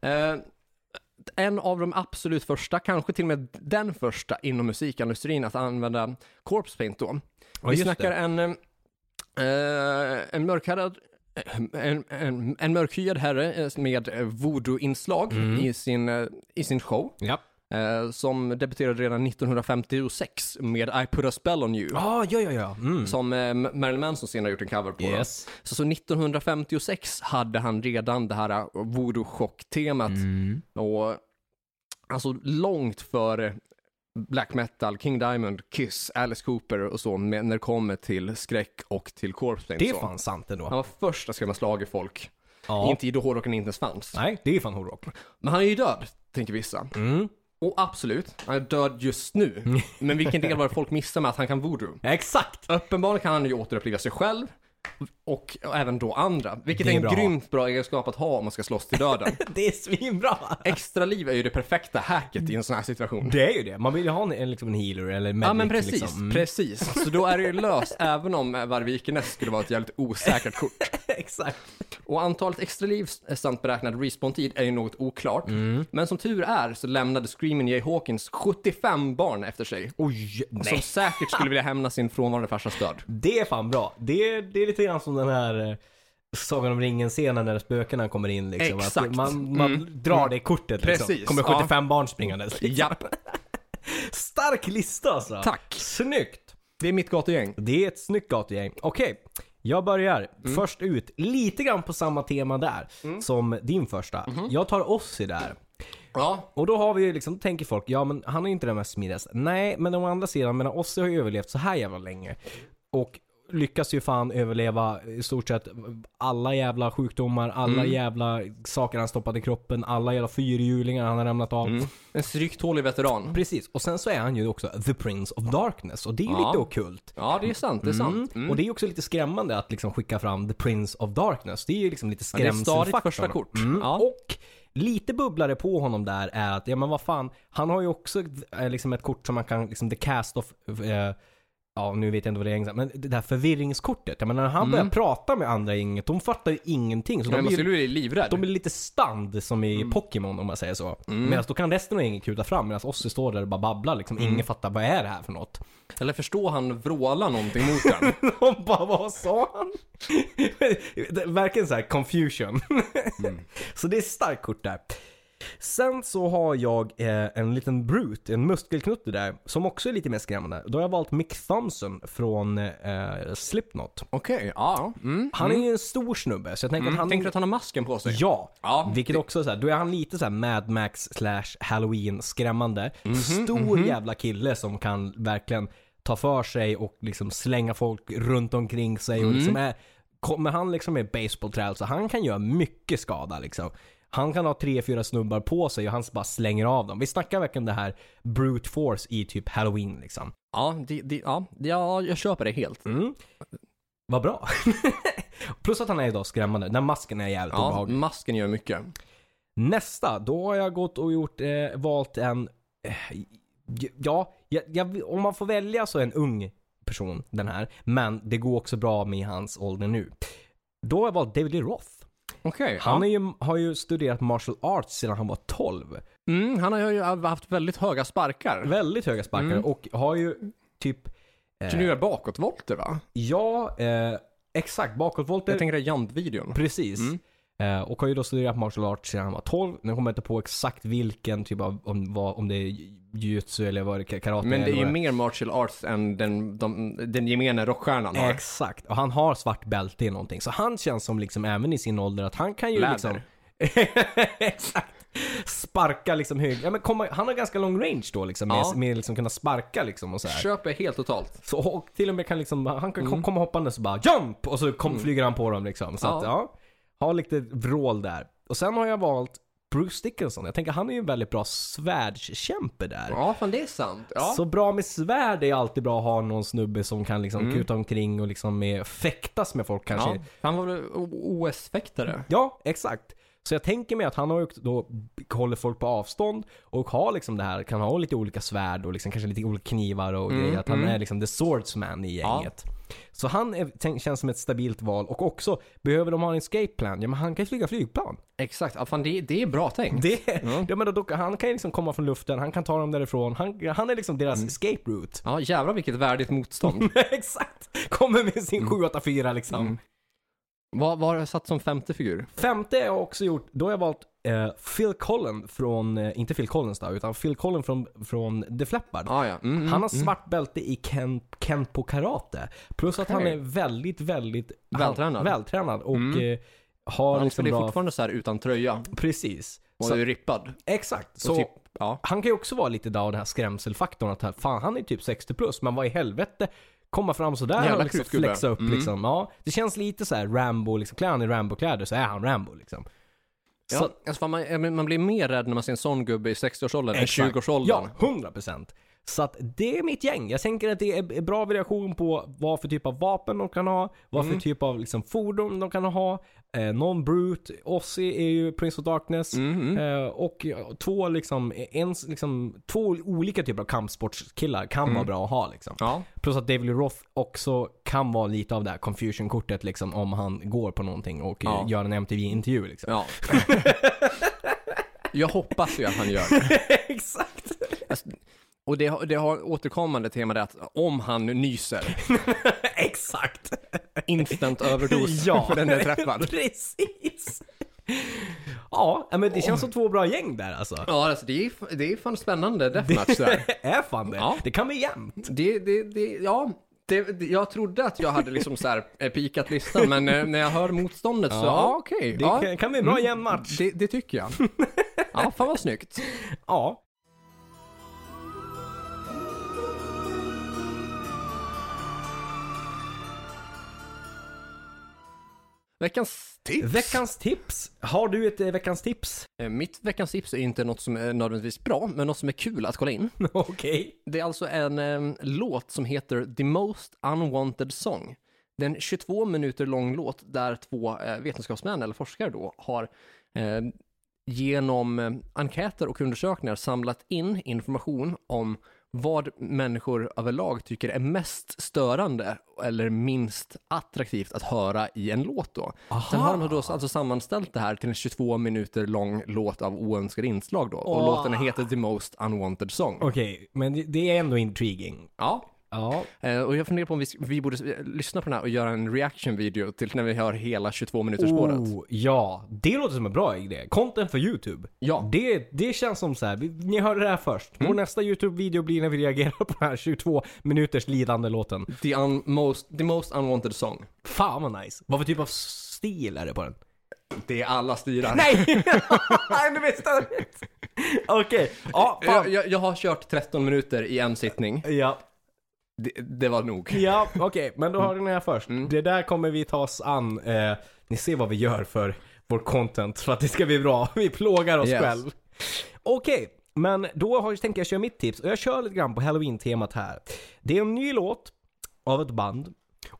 eh, en av de absolut första, kanske till och med den första inom musikindustrin att använda corpse paint då. vi
just
snackar en, eh, en mörkhyad eh, en, en, en mörkhyad herre eh, med eh, voodoo-inslag
Mm.
i, sin, eh, i sin show.
Ja.
eh, Som debuterade redan 1956 med I put a spell on you.
Ah, ja, ja, ja. Mm.
Som eh, Marilyn Manson senare gjort en cover på. då.
Yes.
Så, så 1956 hade han redan det här eh, voodoo-chock-temat.
Mm.
Och alltså långt före black metal, King Diamond, Kiss, Alice Cooper och så med, när det kommer till skräck och till corpse paint.
Det är
så.
fan sant ändå.
Han var först att skrämma slag i folk.
Ja.
Inte i då hårdrocken inte ens fanns.
Nej, det är fan hårdrock.
Men han är ju död, tänker vissa.
Mm.
Och absolut, han är död just
(laughs)
nu. Men vilken del var det folk missar med att han kan voodoo?
Exakt! (laughs)
Uppenbarligen kan han ju återuppliva sig själv. och även då andra. Vilket
Det
är,
är
en
bra.
grymt bra egenskap att ha om man ska slåss till
(laughs)
döden.
Det är svinbra!
Extra liv är ju det perfekta hacket i en sån här situation.
Det är ju det. Man vill ju ha en, en, liksom en healer eller en medic.
Ja men precis,
Liksom. Mm.
precis. Så då är det ju löst även om Varvikenäs skulle vara ett jävligt osäkert kort.
(laughs) Exakt.
Och antalet extra liv samt beräknad respawn-tid är ju något oklart. Men som tur är så lämnade Screaming Jay Hawkins 75 barn efter sig.
Oj,
Som säkert skulle vilja hämna sin frånvarande farsas död.
Det är fan bra. Det är, det är lite grann som den här eh, Sagan om ringen-scenen när spökena kommer in. Liksom. Att
Exakt. Mm.
Man, man drar det kortet. Liksom.
Precis.
Kommer
Ja.
75 barn springandes.
Japp,
Stark lista alltså.
tack.
Snyggt.
Det är mitt gatugäng.
Det är ett snyggt gatugäng. Okej, jag börjar.
Mm.
Först ut, lite grann på samma tema där som din första.
Mhm.
Jag tar Ossi där.
Ja,
Och då har vi ju liksom, tänker folk, ja men han är ju inte den mest smidigaste. Nej, men å andra sidan, men Ossi har ju överlevt så här jävla länge. Och lyckas ju fan överleva i stort sett alla jävla sjukdomar, alla jävla saker han stoppade i kroppen, alla jävla fyrhjulingar han har ramlat av.
en stryktålig veteran.
Precis, och sen så är han ju också the Prince of Darkness och det är ju
Ja.
lite okult.
Ja, det är sant, det är sant. Mm.
Och det är ju också lite skrämmande att liksom skicka fram the Prince of Darkness. Det är ju liksom lite
det är ett
skrämselfaktorn.
stadigt första kort.
Mm.
Ja.
Och lite bubblare på honom där är att, ja men vad fan, han har ju också eh, liksom ett kort som man kan, liksom the cast of, eh, ja nu vet jag inte vad det är exakt, men det där förvirringskortet. Jag menar när han börjar prata med andra i gänget, de fattar ju ingenting. Så
Mm. Men Mm. man
de blir,
skulle bli livrädd.
de blir lite stand som i Pokémon om man säger så.
Mm.
Medan då kan resten av gänget kuta fram medan Ossi står där och bara babblar liksom.
Mm.
Ingen fattar vad är det här för något.
Eller förstår han vråla någonting mot den?
De bara, vad sa han? Det- (laughs) Verkligen så här confusion. Mm. (laughs) Så det är starkt kort där. Sen så har jag eh, en liten brute, en muskelknutte där, som också är lite mer skrämmande. Då har jag valt Mick Thompson från eh, Slipknot.
Okej, ja. Mm.
Han är ju en stor snubbe, så jag Mm, tänker att han...
Tänker du att han har masken på sig?
Ja,
Typ. Ja,
vilket också är så här, då är han lite så här Mad Max slash Halloween skrämmande.
Mhm,
Stor jävla kille som kan verkligen ta för sig och liksom slänga folk runt omkring sig
Mhm.
och liksom är, kommer han liksom med baseballträ så han kan göra mycket skada liksom. Han kan ha tre, fyra snubbar på sig och han bara slänger av dem. Vi snackar verkligen det här brute force i typ halloween liksom.
Ja, det, det, ja, ja, jag köper det helt.
Mm. Vad bra. (laughs) Plus att han är idag skrämmande. Den masken är jävligt
Ja,
obehaglig.
masken gör mycket.
Nästa, då har jag gått och gjort, eh, valt en, eh, j- ja, jag, jag, om man får välja så är en ung person den här. Men det går också bra med hans ålder nu. Då har jag valt David Lee Roth.
Okej.
Han
ja.
är ju, har ju studerat martial arts sedan han var 12.
mm, han Eh. har ju haft väldigt höga sparkar.
Väldigt höga sparkar
Mm.
och har ju typ,
Så nu är bakåtvolter va?
ja, eh, exakt bakåtvolter.
Jag Mm. tänker det är jump-videon.
Precis. Eh, och har ju då studerat martial arts sedan han var 12. Nu kommer jag inte på exakt vilken typ av, om, vad, om det är jujutsu eller vad det ka- karate
Men det är
eller
ju
vad
mer martial arts än den, de, den gemene rockstjärnan har.
Exakt. Och han har svart bälte i någonting. Så han känns som liksom även i sin ålder att han kan ju
Läder.
liksom... (laughs) exakt. Sparka liksom hög... Ja, men komma, han har ganska lång range då liksom. Med,
Ja.
med liksom kunna sparka liksom och så här.
Köper helt totalt.
Så, och till och med kan liksom, han kan
Mm.
komma hoppandes och bara jump! Och så kom, flyger han på dem liksom. Så
Ja.
att ja, har lite vrål där. Och sen har jag valt Bruce Dickinson. Jag tänker han är ju en väldigt bra svärdskämpe där.
Ja, fan det är sant. Ja.
Så bra med svärd är alltid bra att ha någon snubbe som kan liksom kuta omkring och liksom eh, fäktas med folk kanske.
ja.
Ja.
Han var väl O- OS-fäktare?
exakt. Så jag tänker mig att han har ju då håller folk på avstånd och har liksom det här, kan ha lite olika svärd och liksom kanske lite olika knivar och grejer. Att han är liksom the swordsman i
Ja.
gänget. Så han är, tänk, känns som ett stabilt val och också, behöver de ha en escape plan? Ja men han kan ju flyga flygplan. (laughs)
Exakt, ja, fan det, det är bra tänkt.
Det, ja, men då, han kan ju liksom komma från luften, han kan ta dem därifrån. Han, han är liksom deras escape route.
Ja, jävlar vilket värdigt (laughs)
(laughs)
motstånd.
Exakt! Kommer med
Mm.
sin 784 liksom.
vad, vad har jag satt som femte figur?
Femte har jag också gjort, då har jag valt eh, Phil Collin från, eh, inte Phil Collins då, utan Phil Collin från, från The Flappard.
Ah, ja. mm, mm.
Han har svart bälte i ken, kenpo karate. Plus att han
Okej.
är väldigt, väldigt han-
Vältränad. Mm.
vältränad och eh, har
Han
liksom
spelar ju
bra...
fortfarande så här utan tröja.
Precis.
Och
Så,
är ju rippad.
exakt.
Och
Så,
typ, ja.
han kan ju också vara lite där av den här skrämselfaktorn att här, fan han är typ 60 plus men vad i helvete komma fram sådär
Jävla Mm.
och liksom
krutgubbe.
flexa upp liksom. Ja, det känns lite så här Rambo, liksom, klär han i Rambo-kläder så är han Rambo liksom.
Ja,
Så-
alltså, fan, man, jag menar, man blir mer rädd när man ser en sån gubbe i 60-årsåldern än
Exakt.
20-årsåldern.
Ja, 100 procent. Så att det är mitt gäng. Jag tänker att det är bra variation på vad för typ av vapen de kan ha, vad för
Mm.
typ av liksom, fordon de kan ha. Eh, någon brute, Ozzy är ju Prince of Darkness.
Mm, mm.
Eh, och ja, två, liksom, en, liksom, två olika typer av kampsportskillar kan
Mm.
vara bra att ha. Liksom.
Ja.
Plus att David Lee Roth också kan vara lite av det här confusion-kortet liksom, om han går på någonting och eh,
Ja.
gör en MTV-intervju. Liksom.
ja. (laughs) Jag hoppas ju att han gör det.
(laughs) Exakt!
Och det, har- det har återkommande tema det att om han nyser,
Exakt!
instant (laughs) överdos
Ja.
för den är träffad.
Precis! ja, men det känns som två bra gäng där (laughs) alltså.
Ja, alltså det är, det är fan spännande deathmatch där.
är fan det.
Ja.
Det kan bli jämnt.
(laughs) Det, det, det, ja, det, det, jag trodde att jag hade liksom så här eh, pikat listan, men eh, när jag hör motståndet så, ja okej.
Det
ja,
kan, kan bli en bra jämn match.
det, det tycker jag. Ja, fan vad snyggt.
Ja.
Veckans tips.
Veckans tips. Har du ett eh, veckans tips?
Eh, Mitt veckans tips är inte något som är nödvändigtvis bra, men något som är kul att kolla in.
(laughs) Okej.
Det är alltså en eh, låt som heter The Most Unwanted Song. Det är en 22 minuter lång låt där två eh, vetenskapsmän, eller forskare då, har eh, genom eh, enkäter och undersökningar samlat in information om vad människor överlag tycker är mest störande eller minst attraktivt att höra i en låt då. Sen har de då alltså sammanställt det här till en 22 minuter lång låt av oönskade inslag då. Och
Åh.
låten heter The Most Unwanted Song.
Okej, men det, det är ändå intriguing.
Ja,
Ja.
Eh, Och jag funderar på om vi, vi borde eh, lyssna på den här och göra en reaction-video till när vi hör hela 22 minuters spåret.
Oh, ja, det låter som en bra idé. Content för YouTube.
Ja.
Det, det känns som så här. vi- ni hörde det här först. Vår nästa YouTube-video blir när vi reagerar på den här 22 minuters lidande låten.
The, un- most, the most unwanted song.
Fan vad nice. Vad för typ av stil är det på den?
Det är alla stilar.
(laughs) Nej! det bästa jag vet. Okej, ja,
Jag,
fan.
jag, jag har kört 13 minuter i en sittning.
Ja,
Det, det var nog.
ja okej, men då har ni det här först.
Mm.
Det där kommer vi ta oss an. Eh, ni ser vad vi gör för vår content, för att det ska bli bra. Vi plågar oss
Yes.
själv. Okej, men då har, tänker jag köra mitt tips. Och jag kör lite grann på halloween-temat här. Det är en ny låt av ett band.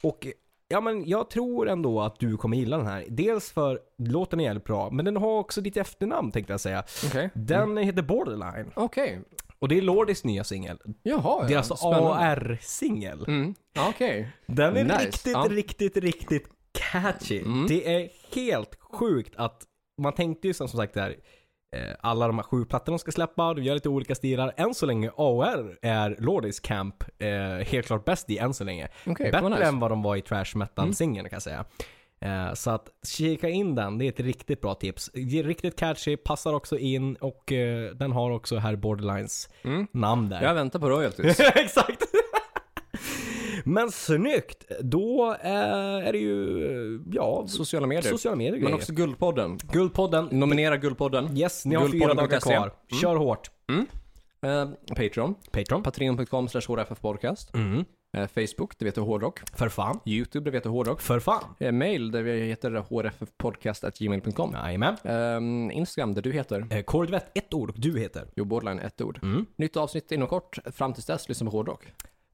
Och ja, men jag tror ändå att du kommer gilla den här. Dels för låten är jävligt bra, men den har också ditt efternamn tänkte jag säga.
Okej.
Den heter Borderline.
Okej.
Och det är Lordis nya singel.
Jaha,
Det är
ja.
alltså
Spännande.
AR-singel.
Mm. Ja, Okej.
Den är
Nice.
riktigt,
Ja. Mm.
riktigt, riktigt catchy. Det är helt sjukt att man tänkte ju som som sagt där eh, alla de här sju plattorna de ska släppa och de gör lite olika stilar. Än så länge AR är Lordis Camp eh, helt klart bäst i än så länge.
Okej, vad
Bättre
nice. Mm.
än vad de var i trash metal-singeln kan jag säga. Eh, Så att kika in den, det är ett riktigt bra tips. Det är Riktigt catchy, passar också in och eh, den har också här Borderlines
Mm.
namn där.
Jag väntar på
(laughs)
royalties.
Exakt. Men snyggt! Då eh, är det ju, eh, ja,
Sociala medier.
sociala medier och
Men
grejer.
också Guldpodden.
Guldpodden.
Nominera Guldpodden.
Yes, ni har fyra dagar
Guldpodden.se.
kvar. Kör hårt.
Eh, Patreon.
Patreon.
Patreon.com slash hrffpodcast. Eh, Facebook, det heter Hårdrock.
För fan.
YouTube, det heter Hårdrock.
För fan.
Eh, mail där vi heter hrffpodcast.gmail.com.
Jajamän.
Ehm, Instagram där du heter
Eh, Korvett, ett ord och du heter.
Jo Borderline, ett ord.
Mm.
Nytt avsnitt inom kort. Fram tills dess, lyssna på hårdrock.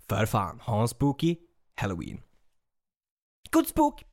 För fan. Ha en spooky halloween. Good spook!